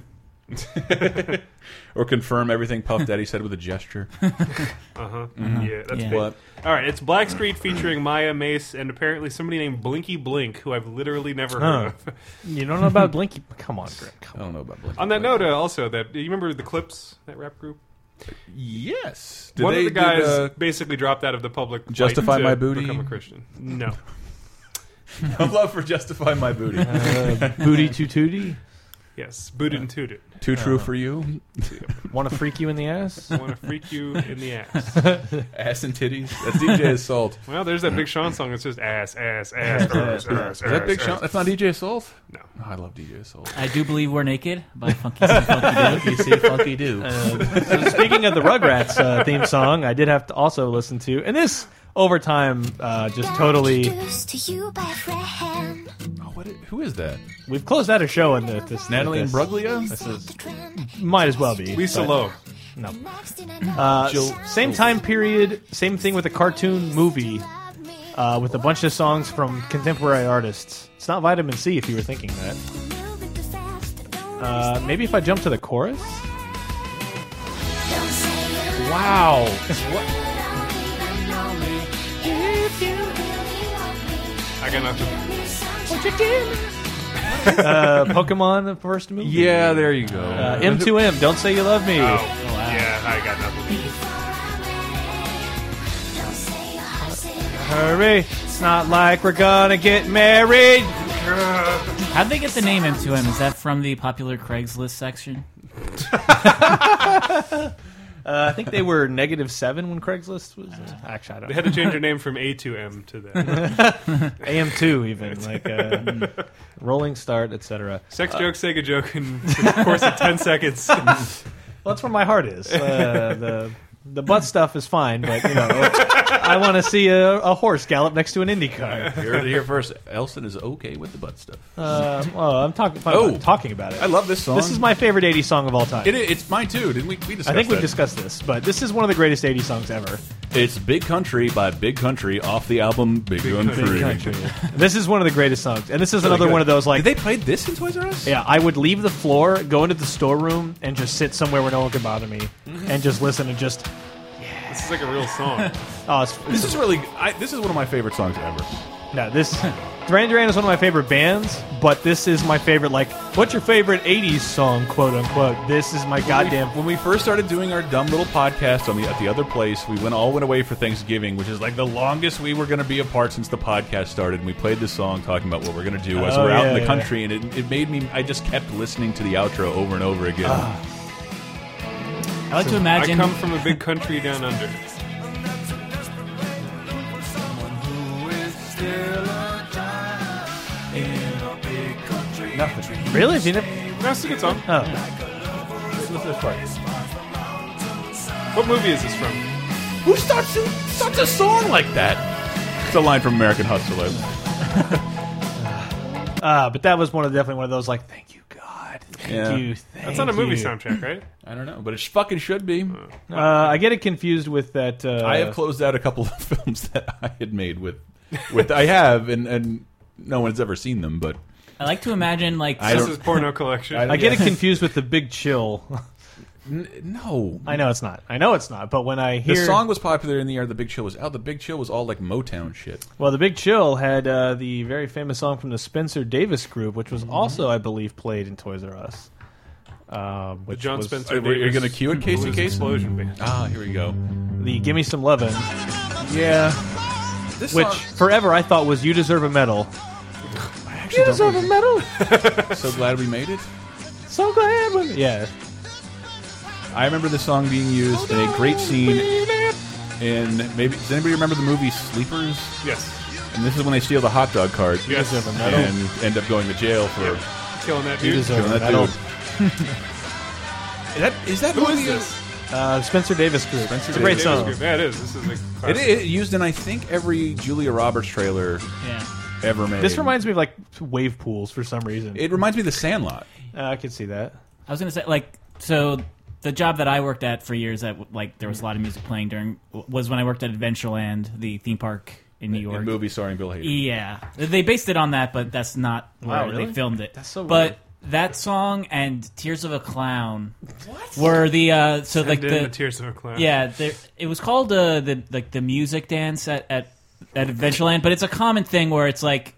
Speaker 2: or confirm everything Puff Daddy said with a gesture.
Speaker 3: Uh-huh.
Speaker 2: Mhm.
Speaker 3: Yeah, that's
Speaker 2: Yeah.
Speaker 3: big.
Speaker 2: What?
Speaker 3: All right, it's Blackstreet featuring Maya Mace and apparently somebody named Blinky Blink, who I've literally never heard
Speaker 6: Huh.
Speaker 3: of.
Speaker 6: you don't know about Blinky. Come on, Greg.
Speaker 2: I don't know about Blink.
Speaker 3: On that note, uh, also that you remember the Clips that rap group?
Speaker 2: Yes.
Speaker 3: One of the guys
Speaker 2: did, uh,
Speaker 3: basically dropped out of the public. light
Speaker 2: Justify
Speaker 3: to
Speaker 2: My Booty?
Speaker 3: Become a Christian? No.
Speaker 2: I'd love for justify my booty.
Speaker 6: Uh, booty to tootie.
Speaker 3: Yes, booted and tooted.
Speaker 2: Too true for you.
Speaker 6: Want to freak you in the ass?
Speaker 3: Want to freak you in the ass.
Speaker 2: Ass and titties. That's DJ Assault.
Speaker 3: Well, there's that Big Sean song. It's just ass, ass, ass, ass, ass, ass.
Speaker 2: Is that Big
Speaker 3: ass.
Speaker 2: Sean? That's not DJ Assault.
Speaker 3: No.
Speaker 2: Oh, I love DJ Assault.
Speaker 5: I do believe we're naked by Funky See Funky Do.
Speaker 2: You see Funky Do.
Speaker 6: Uh, so speaking of the Rugrats uh, theme song, I did have to also listen to, and this over time uh, just totally.
Speaker 2: Oh, what? i- Who is that?
Speaker 6: We've closed out a show in the, this.
Speaker 2: Natalie
Speaker 6: this.
Speaker 2: Imbruglia?
Speaker 6: This is, might as well be
Speaker 3: Lisa
Speaker 6: but-
Speaker 3: Loeb.
Speaker 6: No. Uh,
Speaker 2: Jill-
Speaker 6: same time period, same thing with a cartoon movie, uh, with a bunch of songs from contemporary artists. It's not Vitamin C if you were thinking that. Uh, maybe if I jump to the chorus. Wow.
Speaker 3: I got nothing.
Speaker 6: uh, Pokemon, the first movie.
Speaker 2: Yeah, there you go.
Speaker 6: Uh, M2M, Don't Say You Love Me.
Speaker 3: Oh, yeah, I got nothing.
Speaker 6: Hurry, it's not like we're gonna get married.
Speaker 5: How'd they get the name M2M? Is that from the popular Craigslist section?
Speaker 6: Uh, I think they were negative seven when Craigslist was. uh, actually, I don't.
Speaker 3: They had to change their name from A to M to that.
Speaker 6: AM2 even like uh, rolling start, etc.
Speaker 3: Sex
Speaker 6: Uh,
Speaker 3: joke, Sega joke in the course of 10 seconds.
Speaker 6: Well, that's where my heart is. Uh, the the butt stuff is fine, but you know, I want to see a, a horse gallop next to an Indy car.
Speaker 2: You heard it here first. Elson is okay with the butt stuff.
Speaker 6: Uh, well, I'm talking.
Speaker 2: Oh.
Speaker 6: talking about it.
Speaker 2: I love this song.
Speaker 6: This is my favorite '80s song of all time.
Speaker 2: It, it's mine too. Didn't we? We discussed
Speaker 6: I think we've
Speaker 2: that.
Speaker 6: discussed this, but this is one of the greatest '80s songs ever.
Speaker 2: It's Big Country by Big Country off the album Big, Country.
Speaker 6: Country. this is one of the greatest songs, and this is
Speaker 2: Really
Speaker 6: another
Speaker 2: good.
Speaker 6: one of those like
Speaker 2: Did they play this in Toys R Us?
Speaker 6: Yeah, I would leave the floor, go into the storeroom, and just sit somewhere where no one could bother me,
Speaker 2: Mm-hmm.
Speaker 6: and just listen and just.
Speaker 3: This is like a real song.
Speaker 6: Oh, it's,
Speaker 2: This is really. I, this is one of my favorite songs ever.
Speaker 6: no, this Duran Duran is one of my favorite bands, but this is my favorite. Like, what's your favorite '80s song, quote unquote? This is my goddamn.
Speaker 2: When we first started doing our dumb little podcast on the at the other place, we went all went away for Thanksgiving, which is like the longest we were going to be apart since the podcast started. And we played this song talking about what we're going to do as
Speaker 6: Oh,
Speaker 2: we're out
Speaker 6: yeah,
Speaker 2: in the
Speaker 6: yeah.
Speaker 2: country, and it, it made me. I just kept listening to the outro over and over again.
Speaker 5: I like to imagine.
Speaker 3: I come from a big country down under.
Speaker 2: Nothing.
Speaker 6: Really? Have you never?
Speaker 3: That's a good song.
Speaker 6: Oh,
Speaker 2: Listen to this part.
Speaker 3: What movie is this from?
Speaker 2: Who starts a, starts a song like that? It's a line from American Hustler.
Speaker 6: uh, but that was one of definitely one of those like, thank you God, thank
Speaker 2: Yeah.
Speaker 6: you. Thank
Speaker 3: That's not a movie
Speaker 6: you.
Speaker 3: soundtrack, right?
Speaker 2: I don't know, but it fucking should be.
Speaker 6: Uh, I get it confused with that. Uh,
Speaker 2: I have closed out a couple of films that I had made with, with I have, and and no one's ever seen them. But
Speaker 5: I like to imagine like
Speaker 2: I
Speaker 3: This
Speaker 2: don't-
Speaker 3: is porno collection.
Speaker 2: I
Speaker 6: I get
Speaker 2: Yeah.
Speaker 6: it confused with the Big Chill.
Speaker 2: N- no,
Speaker 6: I know it's not. I know it's not. But when I hear
Speaker 2: the song was popular in the year the Big Chill was out. The Big Chill was all like Motown shit.
Speaker 6: Well, the Big Chill had uh, the very famous song from the Spencer Davis group, which was also, I believe, played in Toys R Us. Um,
Speaker 3: the
Speaker 6: which
Speaker 3: John
Speaker 6: was
Speaker 3: Spencer.
Speaker 2: Are we- are you
Speaker 3: Davis
Speaker 2: gonna cue it, Casey
Speaker 3: Blues
Speaker 2: Kasem?
Speaker 3: Explosion Band.
Speaker 2: Ah, here we go.
Speaker 6: the "Give Me Some Lovin'," yeah,
Speaker 2: This
Speaker 6: which
Speaker 2: song,
Speaker 6: forever I thought was "You Deserve a Medal."
Speaker 2: I actually don't
Speaker 6: a Medal.
Speaker 2: so glad we made it.
Speaker 6: So glad when. Yeah.
Speaker 2: I remember the song being used in a great scene in maybe. Does anybody remember the movie Sleepers?
Speaker 3: Yes.
Speaker 2: And this is when they steal the hot dog cart.
Speaker 3: You deserve a medal.
Speaker 2: And end up going to jail for
Speaker 3: Killing that
Speaker 2: You
Speaker 3: dude.
Speaker 2: deserve Killing a that medal. dude. Is that is that
Speaker 3: Who
Speaker 2: movie-
Speaker 3: is this?
Speaker 6: Uh, Spencer Davis Group. it's uh, a
Speaker 2: Davis
Speaker 6: great
Speaker 2: Group.
Speaker 6: song.
Speaker 3: Group. Yeah, it is. This is a
Speaker 2: It, it used in I think every Julia Roberts trailer
Speaker 5: Yeah.
Speaker 2: ever made.
Speaker 6: This reminds me of like wave pools for some reason.
Speaker 2: It reminds me of The Sandlot.
Speaker 6: Uh, I could see that.
Speaker 5: I was gonna say like so the job that I worked at for years that like there was a lot of music playing during was when I worked at Adventureland, the theme park in New York.
Speaker 2: a movie starring Bill Hader.
Speaker 5: Yeah, they based it on that, but that's not
Speaker 6: Wow,
Speaker 5: where
Speaker 6: really?
Speaker 5: they filmed it.
Speaker 6: That's so
Speaker 5: but.
Speaker 6: weird.
Speaker 5: That song and "Tears of a Clown" were the uh, so
Speaker 3: Send
Speaker 5: like
Speaker 3: in
Speaker 5: the
Speaker 3: the Tears of a Clown.
Speaker 5: Yeah, there, it was called uh, the like the music dance at at, at Adventureland, but it's a common thing where it's like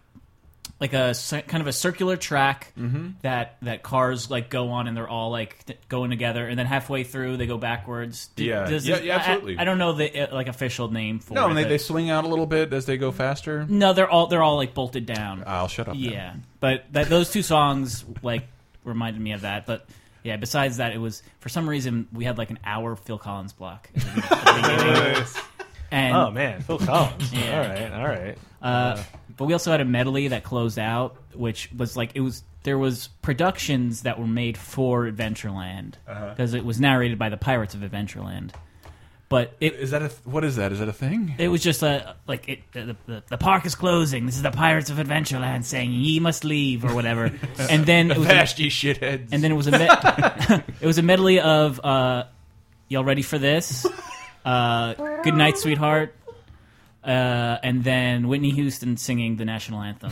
Speaker 5: like a cir- kind of a circular track
Speaker 2: Mm-hmm.
Speaker 12: Mhm.
Speaker 5: that that cars like go on and they're all like th- going together, and then halfway through they go backwards. Do-
Speaker 2: Yeah.
Speaker 5: does
Speaker 2: Yeah,
Speaker 5: it-
Speaker 2: yeah,
Speaker 5: I-
Speaker 2: absolutely.
Speaker 5: I, I don't know the uh, like official name for
Speaker 2: No,
Speaker 5: it.
Speaker 2: and they,
Speaker 5: but-
Speaker 2: they swing out a little bit as they go faster.
Speaker 5: no, they're all they're all like bolted down.
Speaker 2: I'll shut up now.
Speaker 5: Yeah, but that, those two songs like reminded me of that. But yeah, besides that, it was for some reason we had like an hour Phil Collins block. at the beginning- at the beginning.
Speaker 6: Nice.
Speaker 5: And
Speaker 6: Oh, man, Phil Collins.
Speaker 5: Yeah.
Speaker 6: All right, all right.
Speaker 5: Uh,
Speaker 6: Yeah.
Speaker 5: But we also had a medley that closed out, which was like it was there was productions that were made for Adventureland
Speaker 2: Uh-huh.
Speaker 5: because it was narrated by the Pirates of Adventureland. But it
Speaker 2: is that a what is that? Is that a thing?
Speaker 5: It was just a like it. The, the, the park is closing. This is the Pirates of Adventureland saying ye must leave or whatever. and then it was
Speaker 2: Avast ye shitheads.
Speaker 5: And then it was a med- it was a medley of uh, y'all ready for this? Uh, Good night, sweetheart. Uh, and then Whitney Houston singing the national anthem.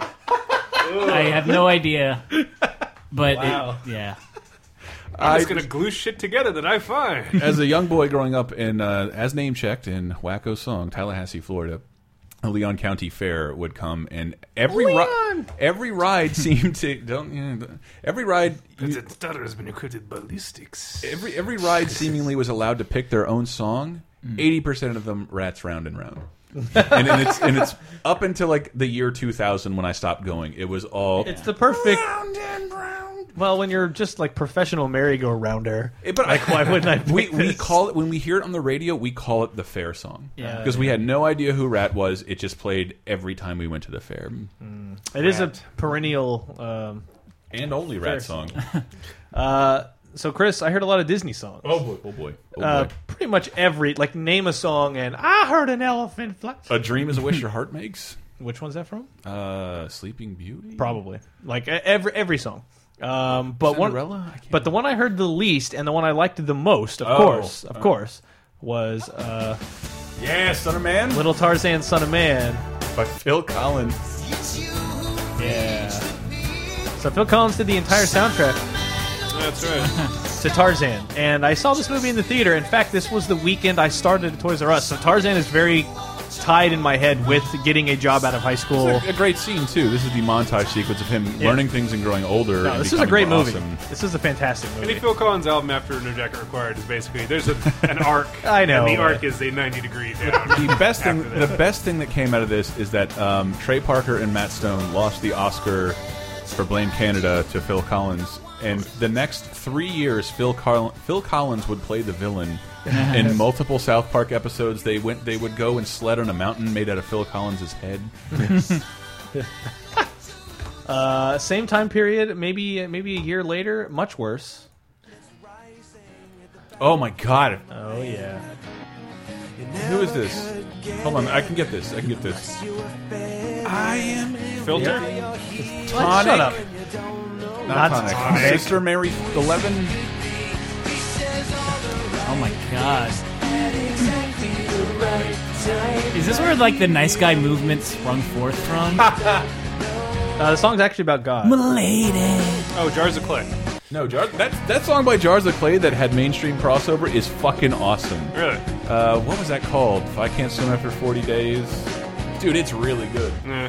Speaker 5: I have no idea, but it-
Speaker 3: Wow.
Speaker 5: yeah.
Speaker 3: I'm just
Speaker 2: I-
Speaker 3: gonna glue shit together that I find.
Speaker 2: as a young boy growing up in uh, as name checked in Wacko Song, Tallahassee, Florida, a Leon County Fair would come, and every ride, every ride seemed to don't yeah, don't- every ride
Speaker 3: That stutter has been equipped with ballistics.
Speaker 2: every every ride seemingly was allowed to pick their own song. Eighty percent of them rats round and round. and, and it's and it's up until like the year 2000 when I stopped going. It was all
Speaker 6: It's the perfect. Well, when you're just like professional merry-go-rounder,
Speaker 2: Eh, But
Speaker 6: like, why wouldn't I? pick
Speaker 2: We we
Speaker 6: this?
Speaker 2: call it when we hear it on the radio. We call it the fair song.
Speaker 6: Yeah.
Speaker 2: Because we had no idea who Rat was. It just played every time we went to the fair.
Speaker 6: It is a perennial um,
Speaker 2: and only rat song.
Speaker 6: uh, so, Chris, I heard a lot of Disney songs.
Speaker 2: Oh boy! Oh boy! Oh boy!
Speaker 6: Uh, pretty much every like name a song and I heard an elephant fly.
Speaker 2: a dream is a wish your heart makes.
Speaker 6: Which one's that from?
Speaker 2: Uh, Sleeping Beauty.
Speaker 6: Probably like e- every every song. Um, but
Speaker 2: Cinderella? I
Speaker 6: one, but the one I heard the least and the one I liked the most, of
Speaker 2: Oh,
Speaker 6: course, of
Speaker 2: uh.
Speaker 6: course, was uh,
Speaker 2: Yeah, Son of Man.
Speaker 6: Little Tarzan, Son of Man
Speaker 2: by Phil Collins.
Speaker 6: Yeah. So Phil Collins did the entire soundtrack
Speaker 3: That's right.
Speaker 6: to Tarzan, and I saw this movie in the theater. In fact, this was the weekend I started at Toys R Us. So Tarzan is very tied in my head with getting a job out of high school.
Speaker 2: It's a, a great scene too. This is the montage sequence of him
Speaker 6: Yeah.
Speaker 2: learning things and growing older.
Speaker 6: No,
Speaker 2: and
Speaker 6: Uh, this is a
Speaker 2: becoming
Speaker 6: great
Speaker 2: more
Speaker 6: movie.
Speaker 2: awesome.
Speaker 6: This is a fantastic
Speaker 3: Any
Speaker 6: movie.
Speaker 3: Phil Collins album after No Jacket Required is basically there's a, an arc.
Speaker 6: I know,
Speaker 3: And the
Speaker 6: but-
Speaker 3: arc is a 90 degree down.
Speaker 2: the best thing
Speaker 3: after that.
Speaker 2: the best thing that came out of this is that um, Trey Parker and Matt Stone lost the Oscar for Blame Canada to Phil Collins and the next 3 years Phil Carl Phil Collins would play the villain in multiple South Park episodes they went they would go and sled on a mountain made out of Phil Collins's head
Speaker 6: Uh, same time period, maybe uh, maybe a year later, much worse.
Speaker 2: oh my god
Speaker 6: Oh yeah.
Speaker 2: who is this hold on I can get this I can get this I am
Speaker 3: filter.
Speaker 2: Tonic
Speaker 6: Shut up.
Speaker 2: not,
Speaker 6: Not
Speaker 2: tonic.
Speaker 6: Tonic.
Speaker 2: Sister Mary 11
Speaker 5: Oh my god. Is this where like the nice guy movement sprung forth from?
Speaker 6: Uh, the song's actually about God.
Speaker 5: Milady.
Speaker 3: Oh, Jars of Clay.
Speaker 2: No, Jar that that song by Jars of Clay that had mainstream crossover is fucking awesome.
Speaker 3: Really?
Speaker 2: Uh, what was that called? If I can't swim after forty days, dude, it's really good.
Speaker 3: Nah.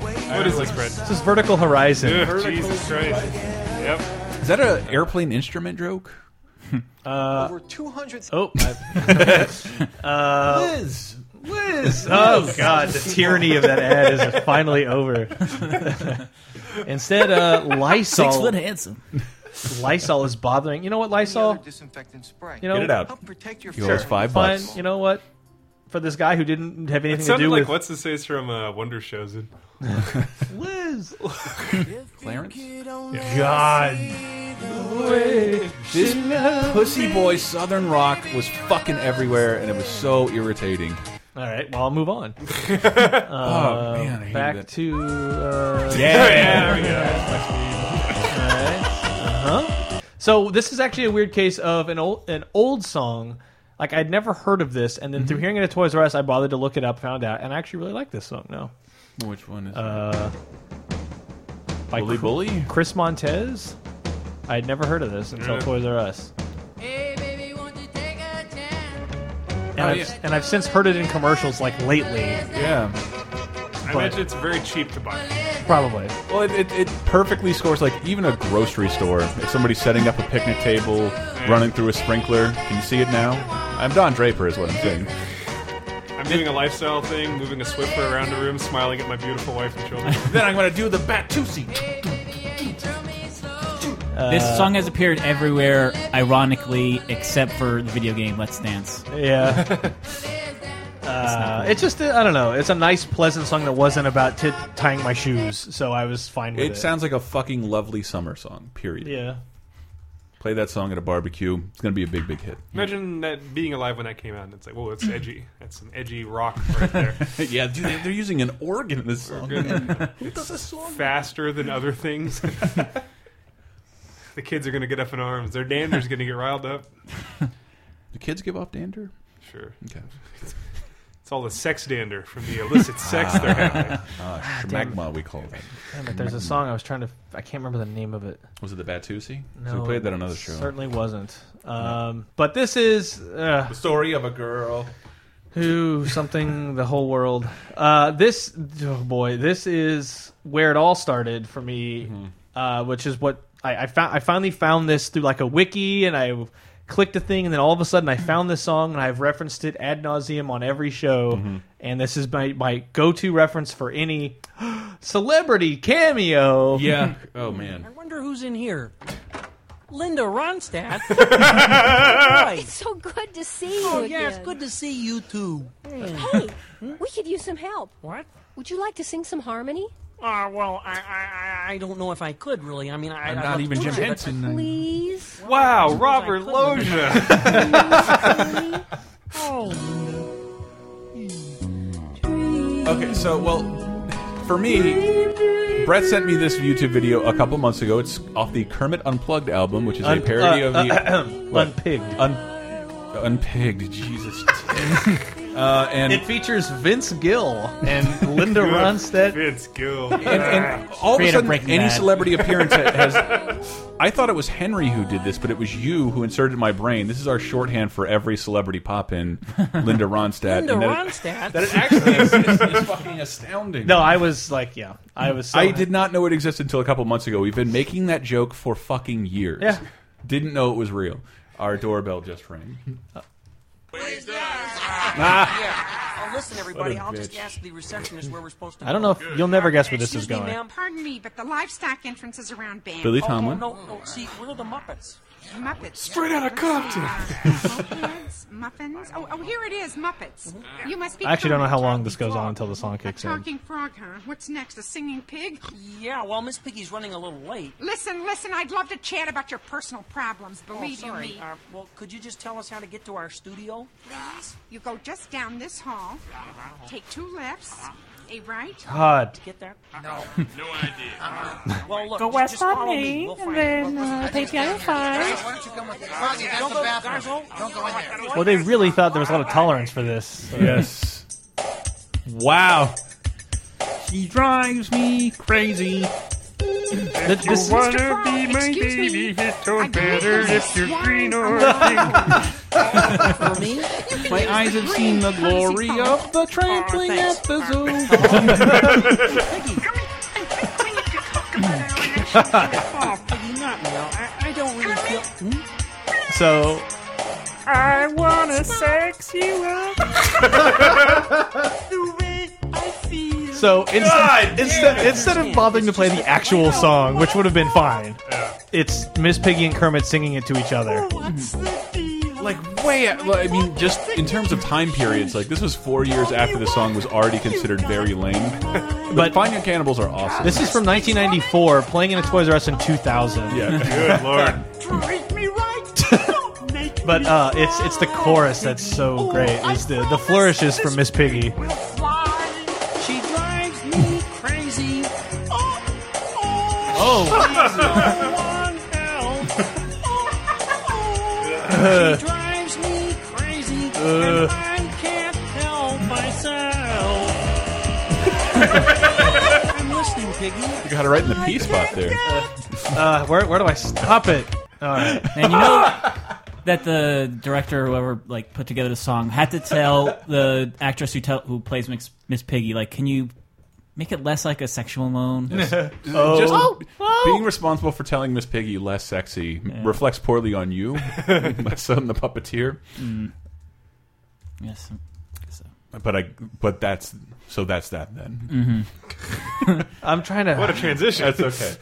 Speaker 3: What is this, Brett?
Speaker 6: This is Vertical Horizon.
Speaker 3: Ugh, Jesus Christ. Yep.
Speaker 2: Is that an airplane instrument joke?
Speaker 6: Uh,
Speaker 14: Over 200.
Speaker 6: oh, I- uh,
Speaker 2: Liz,
Speaker 6: What is oh god, the tyranny of that ad is finally over. Instead, uh, Lysol.
Speaker 5: Six foot handsome.
Speaker 6: Lysol is bothering. You know what, Lysol?
Speaker 14: Disinfectant spray.
Speaker 6: You know,
Speaker 14: Help protect your
Speaker 6: Sure. Fine, You know what? For this guy who didn't have
Speaker 3: It
Speaker 6: anything to
Speaker 3: sounded
Speaker 6: do
Speaker 3: like
Speaker 6: with
Speaker 3: what's his face from uh, Wonder Shows.
Speaker 6: Liz.
Speaker 2: Clarence?
Speaker 6: God.
Speaker 2: This pussy boy southern rock was fucking everywhere, and it was so irritating.
Speaker 6: All right, well, I'll move on. Um,
Speaker 2: Oh, man, I hated
Speaker 6: back
Speaker 2: that.
Speaker 6: to uh,
Speaker 2: Yeah, there we go.
Speaker 6: All right. Uh-huh. So this is actually a weird case of an old an old song. Like I'd never heard of this, and then through hearing it at Toys R Us, I bothered to look it up, found out, and I actually really like this song. No,
Speaker 2: Which one is
Speaker 6: uh, by
Speaker 2: Bully
Speaker 6: Cr-
Speaker 2: Bully?
Speaker 6: Chris Montez. I'd never heard of this until
Speaker 2: Yeah.
Speaker 6: Toys R Us,
Speaker 9: Hey, baby, won't you take a chance?
Speaker 6: and,
Speaker 3: Oh,
Speaker 6: I've,
Speaker 3: yeah.
Speaker 6: and I've since heard it in commercials like lately.
Speaker 2: Yeah,
Speaker 3: I
Speaker 6: But-
Speaker 3: imagine it's very cheap to buy.
Speaker 6: probably.
Speaker 2: Well, it, it, it perfectly scores like even a grocery store. If somebody's setting up a picnic table, running through a sprinkler, can you see it now? I'm Don Draper, is what I'm saying.
Speaker 3: I'm doing a lifestyle thing, moving a Swiffer around the room, smiling at my beautiful wife and children.
Speaker 2: then I'm gonna do the Batusi.
Speaker 5: This
Speaker 3: Uh,
Speaker 5: song has appeared everywhere, ironically, except for the video game Let's Dance.
Speaker 6: Yeah. Uh, it's just I don't know. It's a nice, pleasant song that wasn't about tit tying my shoes, so I was fine with it.
Speaker 2: It sounds like a fucking lovely summer song. Period.
Speaker 6: yeah.
Speaker 2: Play that song at a barbecue. It's gonna be a big, big hit.
Speaker 3: Imagine that being alive when that came out, and it's like, whoa, it's edgy. That's some edgy rock right there.
Speaker 2: yeah, dude, they- they're using an organ in this song. Who does this song?
Speaker 3: Faster than other things. the kids are going to get up in arms. Their dander's going to get riled up.
Speaker 2: Do kids give off dander?
Speaker 3: Sure.
Speaker 2: Okay.
Speaker 3: It's all the sex dander from the illicit sex they're having.
Speaker 2: Ah, schmagma, we call that.
Speaker 6: Damn it, there's a song I was trying to. I can't remember the name of it.
Speaker 2: Was it the Batusi?
Speaker 6: No,
Speaker 2: So we played that
Speaker 6: it
Speaker 2: on another show.
Speaker 6: Certainly wasn't. Um, But this is uh,
Speaker 2: the story of a girl
Speaker 6: who something the whole world. Uh, this oh boy, this is where it all started for me,
Speaker 2: Mm-hmm.
Speaker 6: uh, which is what I, I found. I finally found this through like a wiki, and I clicked a thing, and then all of a sudden I found this song, and I've referenced it ad nauseum on every show,
Speaker 2: Mm-hmm.
Speaker 6: and this is my my go to reference for any celebrity cameo.
Speaker 2: Yeah. Oh man.
Speaker 15: I wonder who's in here. Linda Ronstadt.
Speaker 16: It's so good to see you.
Speaker 15: Oh, yeah, it's
Speaker 16: again.
Speaker 15: good to see you too.
Speaker 16: Hey, we could use some help.
Speaker 15: What?
Speaker 16: Would you like to sing some harmony?
Speaker 15: Ah, well, I, I, I- I don't know if I could really. I mean, I,
Speaker 2: I'm
Speaker 15: I'd
Speaker 2: not
Speaker 15: love
Speaker 2: even
Speaker 15: to
Speaker 2: Jim
Speaker 15: try, but-
Speaker 2: Henson.
Speaker 16: Please.
Speaker 3: Wow, Oh, Robert Loggia.
Speaker 2: Okay, so well, for me, Brett sent me this YouTube video a couple months ago. It's off the Kermit Unplugged album, which is
Speaker 6: Un-
Speaker 2: a parody
Speaker 6: uh,
Speaker 2: of the
Speaker 6: ahem,
Speaker 2: What?
Speaker 6: Unpigged.
Speaker 2: Un unpigged. Jesus. uh, and
Speaker 6: it features Vince Gill and Linda Ronstadt.
Speaker 3: Vince Gill.
Speaker 2: and, and all of a sudden, any celebrity appearance ha- has. I thought it was Henry who did this, but it was you who inserted my brain. This is our shorthand for every celebrity pop in, Linda Ronstadt.
Speaker 15: Linda
Speaker 2: and that it-
Speaker 15: Ronstadt.
Speaker 2: that it actually exists is fucking astounding.
Speaker 6: No, I was like, yeah, I was. So
Speaker 2: I did not know it existed until a couple months ago. We've been making that joke for fucking years.
Speaker 6: Yeah.
Speaker 2: Didn't know it was real. Our doorbell just rang.
Speaker 15: Oh, listen, everybody,
Speaker 2: What a
Speaker 15: I'll just
Speaker 2: bitch.
Speaker 15: ask the receptionist where we're supposed to
Speaker 6: I don't know if you'll never guess where this is
Speaker 15: Excuse me,
Speaker 6: going.
Speaker 15: ma'am.
Speaker 17: Pardon me, but the livestock entrance is around Band.
Speaker 2: Billy Tomlin.
Speaker 15: Oh, no, no, see, we're the Muppets.
Speaker 17: Muppets.
Speaker 15: Straight outta Compton.
Speaker 17: Muffins, muffins. Oh, oh, here it is, Muppets. You must be.
Speaker 6: I actually don't know
Speaker 17: Kermit.
Speaker 6: how long this goes on until the song kicks in.
Speaker 17: Talking frog, huh? What's next? A singing pig?
Speaker 15: Yeah, well, Miss Piggy's running a little late.
Speaker 17: Listen, listen. I'd love to chat about your personal problems. Believe
Speaker 15: oh,
Speaker 17: you
Speaker 15: sorry.
Speaker 17: me.
Speaker 15: Uh, well, could you just tell us how to get to our studio?
Speaker 17: Please, you go just down this hall. Take two lefts, a right.
Speaker 6: God. Did
Speaker 15: you get that?
Speaker 17: No.
Speaker 15: No idea. well, look,
Speaker 17: Go
Speaker 15: just,
Speaker 17: west
Speaker 15: just follow me. We'll find it.
Speaker 18: uh, take the other
Speaker 17: Why don't you come with
Speaker 15: Fozzie, that's the bathroom.
Speaker 17: Don't go in there.
Speaker 6: Well, they really thought there was a lot of tolerance for this.
Speaker 2: Yes. Wow. He drives me crazy.
Speaker 6: Th- this-
Speaker 9: be my baby? It's so better if you're green or
Speaker 2: My eyes have seen the glory of the trampling at the zoo.
Speaker 15: Oh, Piggy, not now. I, I don't really feel. Hmm?
Speaker 6: so
Speaker 9: I wanna sex you up.
Speaker 6: So instead,
Speaker 9: God
Speaker 6: instead, instead of bothering to play the actual song, which would have been fine, it's Miss Piggy and Kermit singing it to each other.
Speaker 2: Like way, out- like, I mean, just in terms of time periods, like this was four years after the song was already considered very lame. But Find Your Cannibals are awesome.
Speaker 6: This is from 1994, playing in a Toys R Us in 2000.
Speaker 2: Yeah. Good lord.
Speaker 6: But uh, it's it's the chorus that's so great. It's the the flourishes from Miss Piggy.
Speaker 9: She drives me crazy. Oh,
Speaker 6: Oh.
Speaker 9: Oh, she drives me crazy. and
Speaker 6: Uh.
Speaker 9: I can't help myself. I'm listening, Piggy.
Speaker 2: You got it right in the P spot there.
Speaker 6: Uh, where where do I stop it? All right.
Speaker 5: And you know that the director, or whoever like put together the song, had to tell the actress who tell, who plays Miss, Miss Piggy, like, can you make it less like a sexual moan?
Speaker 2: Just being responsible for telling Miss Piggy less sexy reflects poorly on you, my son, the puppeteer.
Speaker 5: Mm. Yes. So.
Speaker 2: But I, but that's so that's that then.
Speaker 5: Mhm.
Speaker 6: I'm trying to.
Speaker 3: What a transition.
Speaker 2: That's okay.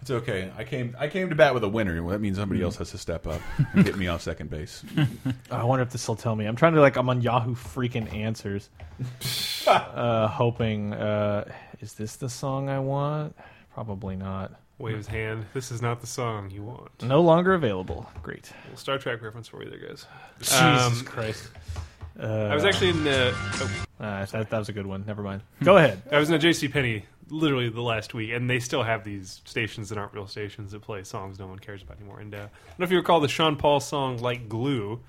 Speaker 2: That's okay. I came I came to bat with a winner. Well, that means somebody
Speaker 6: Hmm.
Speaker 2: else has to step up and get me off second base.
Speaker 6: oh, I wonder if this will tell me. I'm trying to like I'm on Yahoo freaking answers, uh, hoping uh, is this the song I want? Probably not.
Speaker 3: Waves hand. This is not the song you want.
Speaker 6: No longer available. Great.
Speaker 3: Well, Star Trek reference for you there, guys.
Speaker 6: Jesus Christ.
Speaker 3: Um, I was actually in. Uh, oh.
Speaker 6: Uh, that, that was a good one. Never mind. Go ahead.
Speaker 3: I was in a J.C. Penney literally the last week, and they still have these stations that aren't real stations that play songs no one cares about anymore. And uh, I don't know if you recall the Sean Paul song "Like Glue."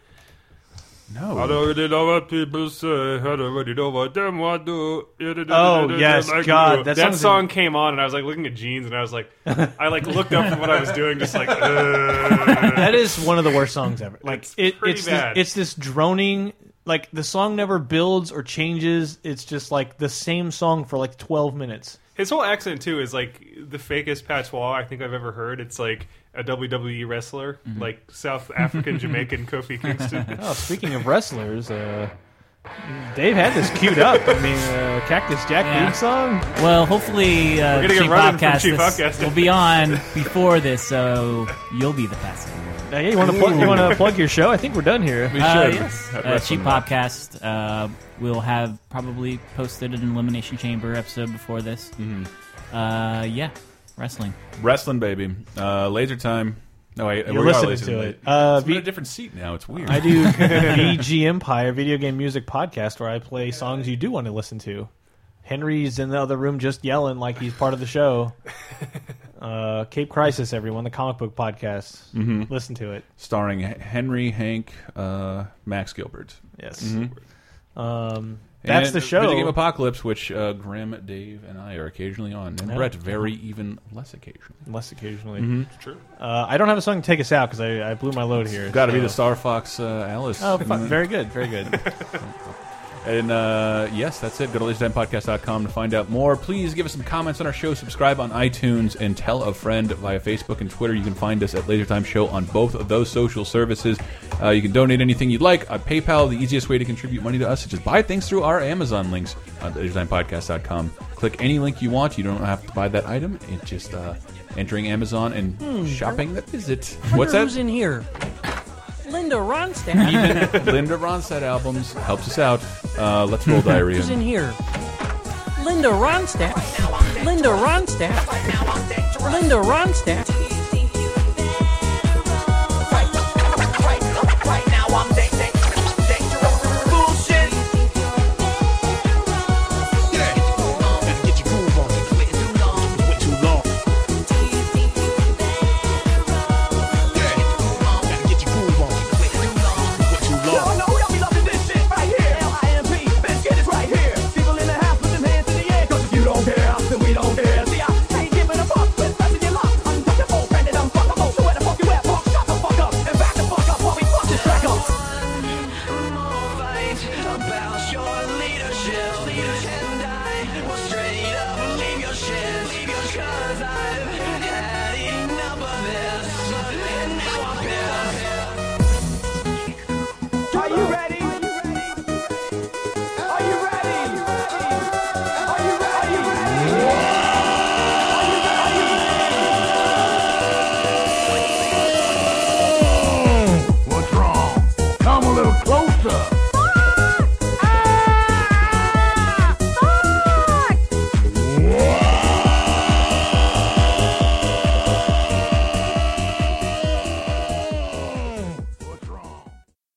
Speaker 2: No.
Speaker 3: I don't really know what people say. I don't really know what them want do.
Speaker 6: Oh, yes, God, that
Speaker 3: that,
Speaker 6: song's
Speaker 3: song
Speaker 6: in-
Speaker 3: came on, and I was like looking at jeans, and I was like, I like looked up from what I was doing, just like. uh.
Speaker 6: that is one of the worst songs ever. Like
Speaker 3: It's
Speaker 6: it,
Speaker 3: pretty
Speaker 6: it's
Speaker 3: bad.
Speaker 6: This, it's this droning. Like the song never builds or changes. It's just like the same song for like 12 minutes.
Speaker 3: His whole accent too is like the fakest patois I think I've ever heard. It's like a WWE wrestler,
Speaker 6: Mm-hmm.
Speaker 3: like South African Jamaican Kofi Kingston.
Speaker 6: Oh, speaking of wrestlers, uh, Dave had this queued up. I mean, uh, Cactus Jack
Speaker 5: Yeah.
Speaker 6: theme song.
Speaker 5: Well, hopefully,
Speaker 6: We're
Speaker 5: uh,
Speaker 6: gonna get
Speaker 5: Chief
Speaker 6: running from
Speaker 5: Podcast
Speaker 6: Chief
Speaker 5: this
Speaker 6: Podcast.
Speaker 5: will be on before this, so you'll be the passenger.
Speaker 6: Now, yeah, you want to plug? You want to plug your show? I think we're done here.
Speaker 5: Uh, yes. Uh, Cheap Podcast. Uh, we'll have probably posted an Elimination Chamber episode before this.
Speaker 2: Mm-hmm.
Speaker 5: Uh, yeah, wrestling.
Speaker 2: Wrestling baby. Uh, laser time. No, I,
Speaker 6: You're
Speaker 2: we are
Speaker 6: listening
Speaker 2: laser
Speaker 6: to
Speaker 2: time.
Speaker 6: it. Uh,
Speaker 2: it's been
Speaker 6: V-
Speaker 2: a different seat now. It's weird.
Speaker 6: I do VG E Empire, video game music podcast, where I play songs you do want to listen to. Henry's in the other room just yelling like he's part of the show. Uh, Cape Crisis, everyone, the comic book podcast.
Speaker 2: Mhm.
Speaker 6: Listen to it.
Speaker 2: starring H- Henry, Hank, uh, Max Gilbert.
Speaker 6: Yes.
Speaker 2: Mhm.
Speaker 6: Um, that's
Speaker 2: And
Speaker 6: the show.
Speaker 2: Video Game Apocalypse, which uh, Grim, Dave, and I are occasionally on, and
Speaker 6: Yeah. Uh-huh.
Speaker 2: Brett very even less occasionally.
Speaker 6: Less occasionally.
Speaker 2: Mhm.
Speaker 3: True.
Speaker 6: Uh, I don't have a song to take us out because I, I blew my load here.
Speaker 2: Got to be
Speaker 6: so-
Speaker 2: the Star Fox uh, Alice.
Speaker 6: Oh, fun. very good, very good.
Speaker 2: And uh, yes, that's it. Go to lasertimepodcast.com to find out more. Please give us some comments on our show, subscribe on iTunes, and tell a friend via Facebook and Twitter. You can find us at Lasertime Show on both of those social services. Uh, you can donate anything you'd like on PayPal. The easiest way to contribute money to us is just buy things through our Amazon links on lasertimepodcast.com. Click any link you want. You don't have to buy that item. It's just uh, entering Amazon and shopping that visit.
Speaker 9: Hmm, Wonder
Speaker 2: What's that?
Speaker 9: Who's in here? Linda
Speaker 2: Even
Speaker 9: Ronstadt.
Speaker 2: Linda Ronstadt albums helps us out. Uh, let's roll diarrhea.
Speaker 9: Who's in here? Linda Ronstadt. Linda Ronstadt. Linda Ronstadt. Don't care, then we don't care. See, I ain't giving a fuck, but pressing your luck. I'm touchable,
Speaker 18: closer.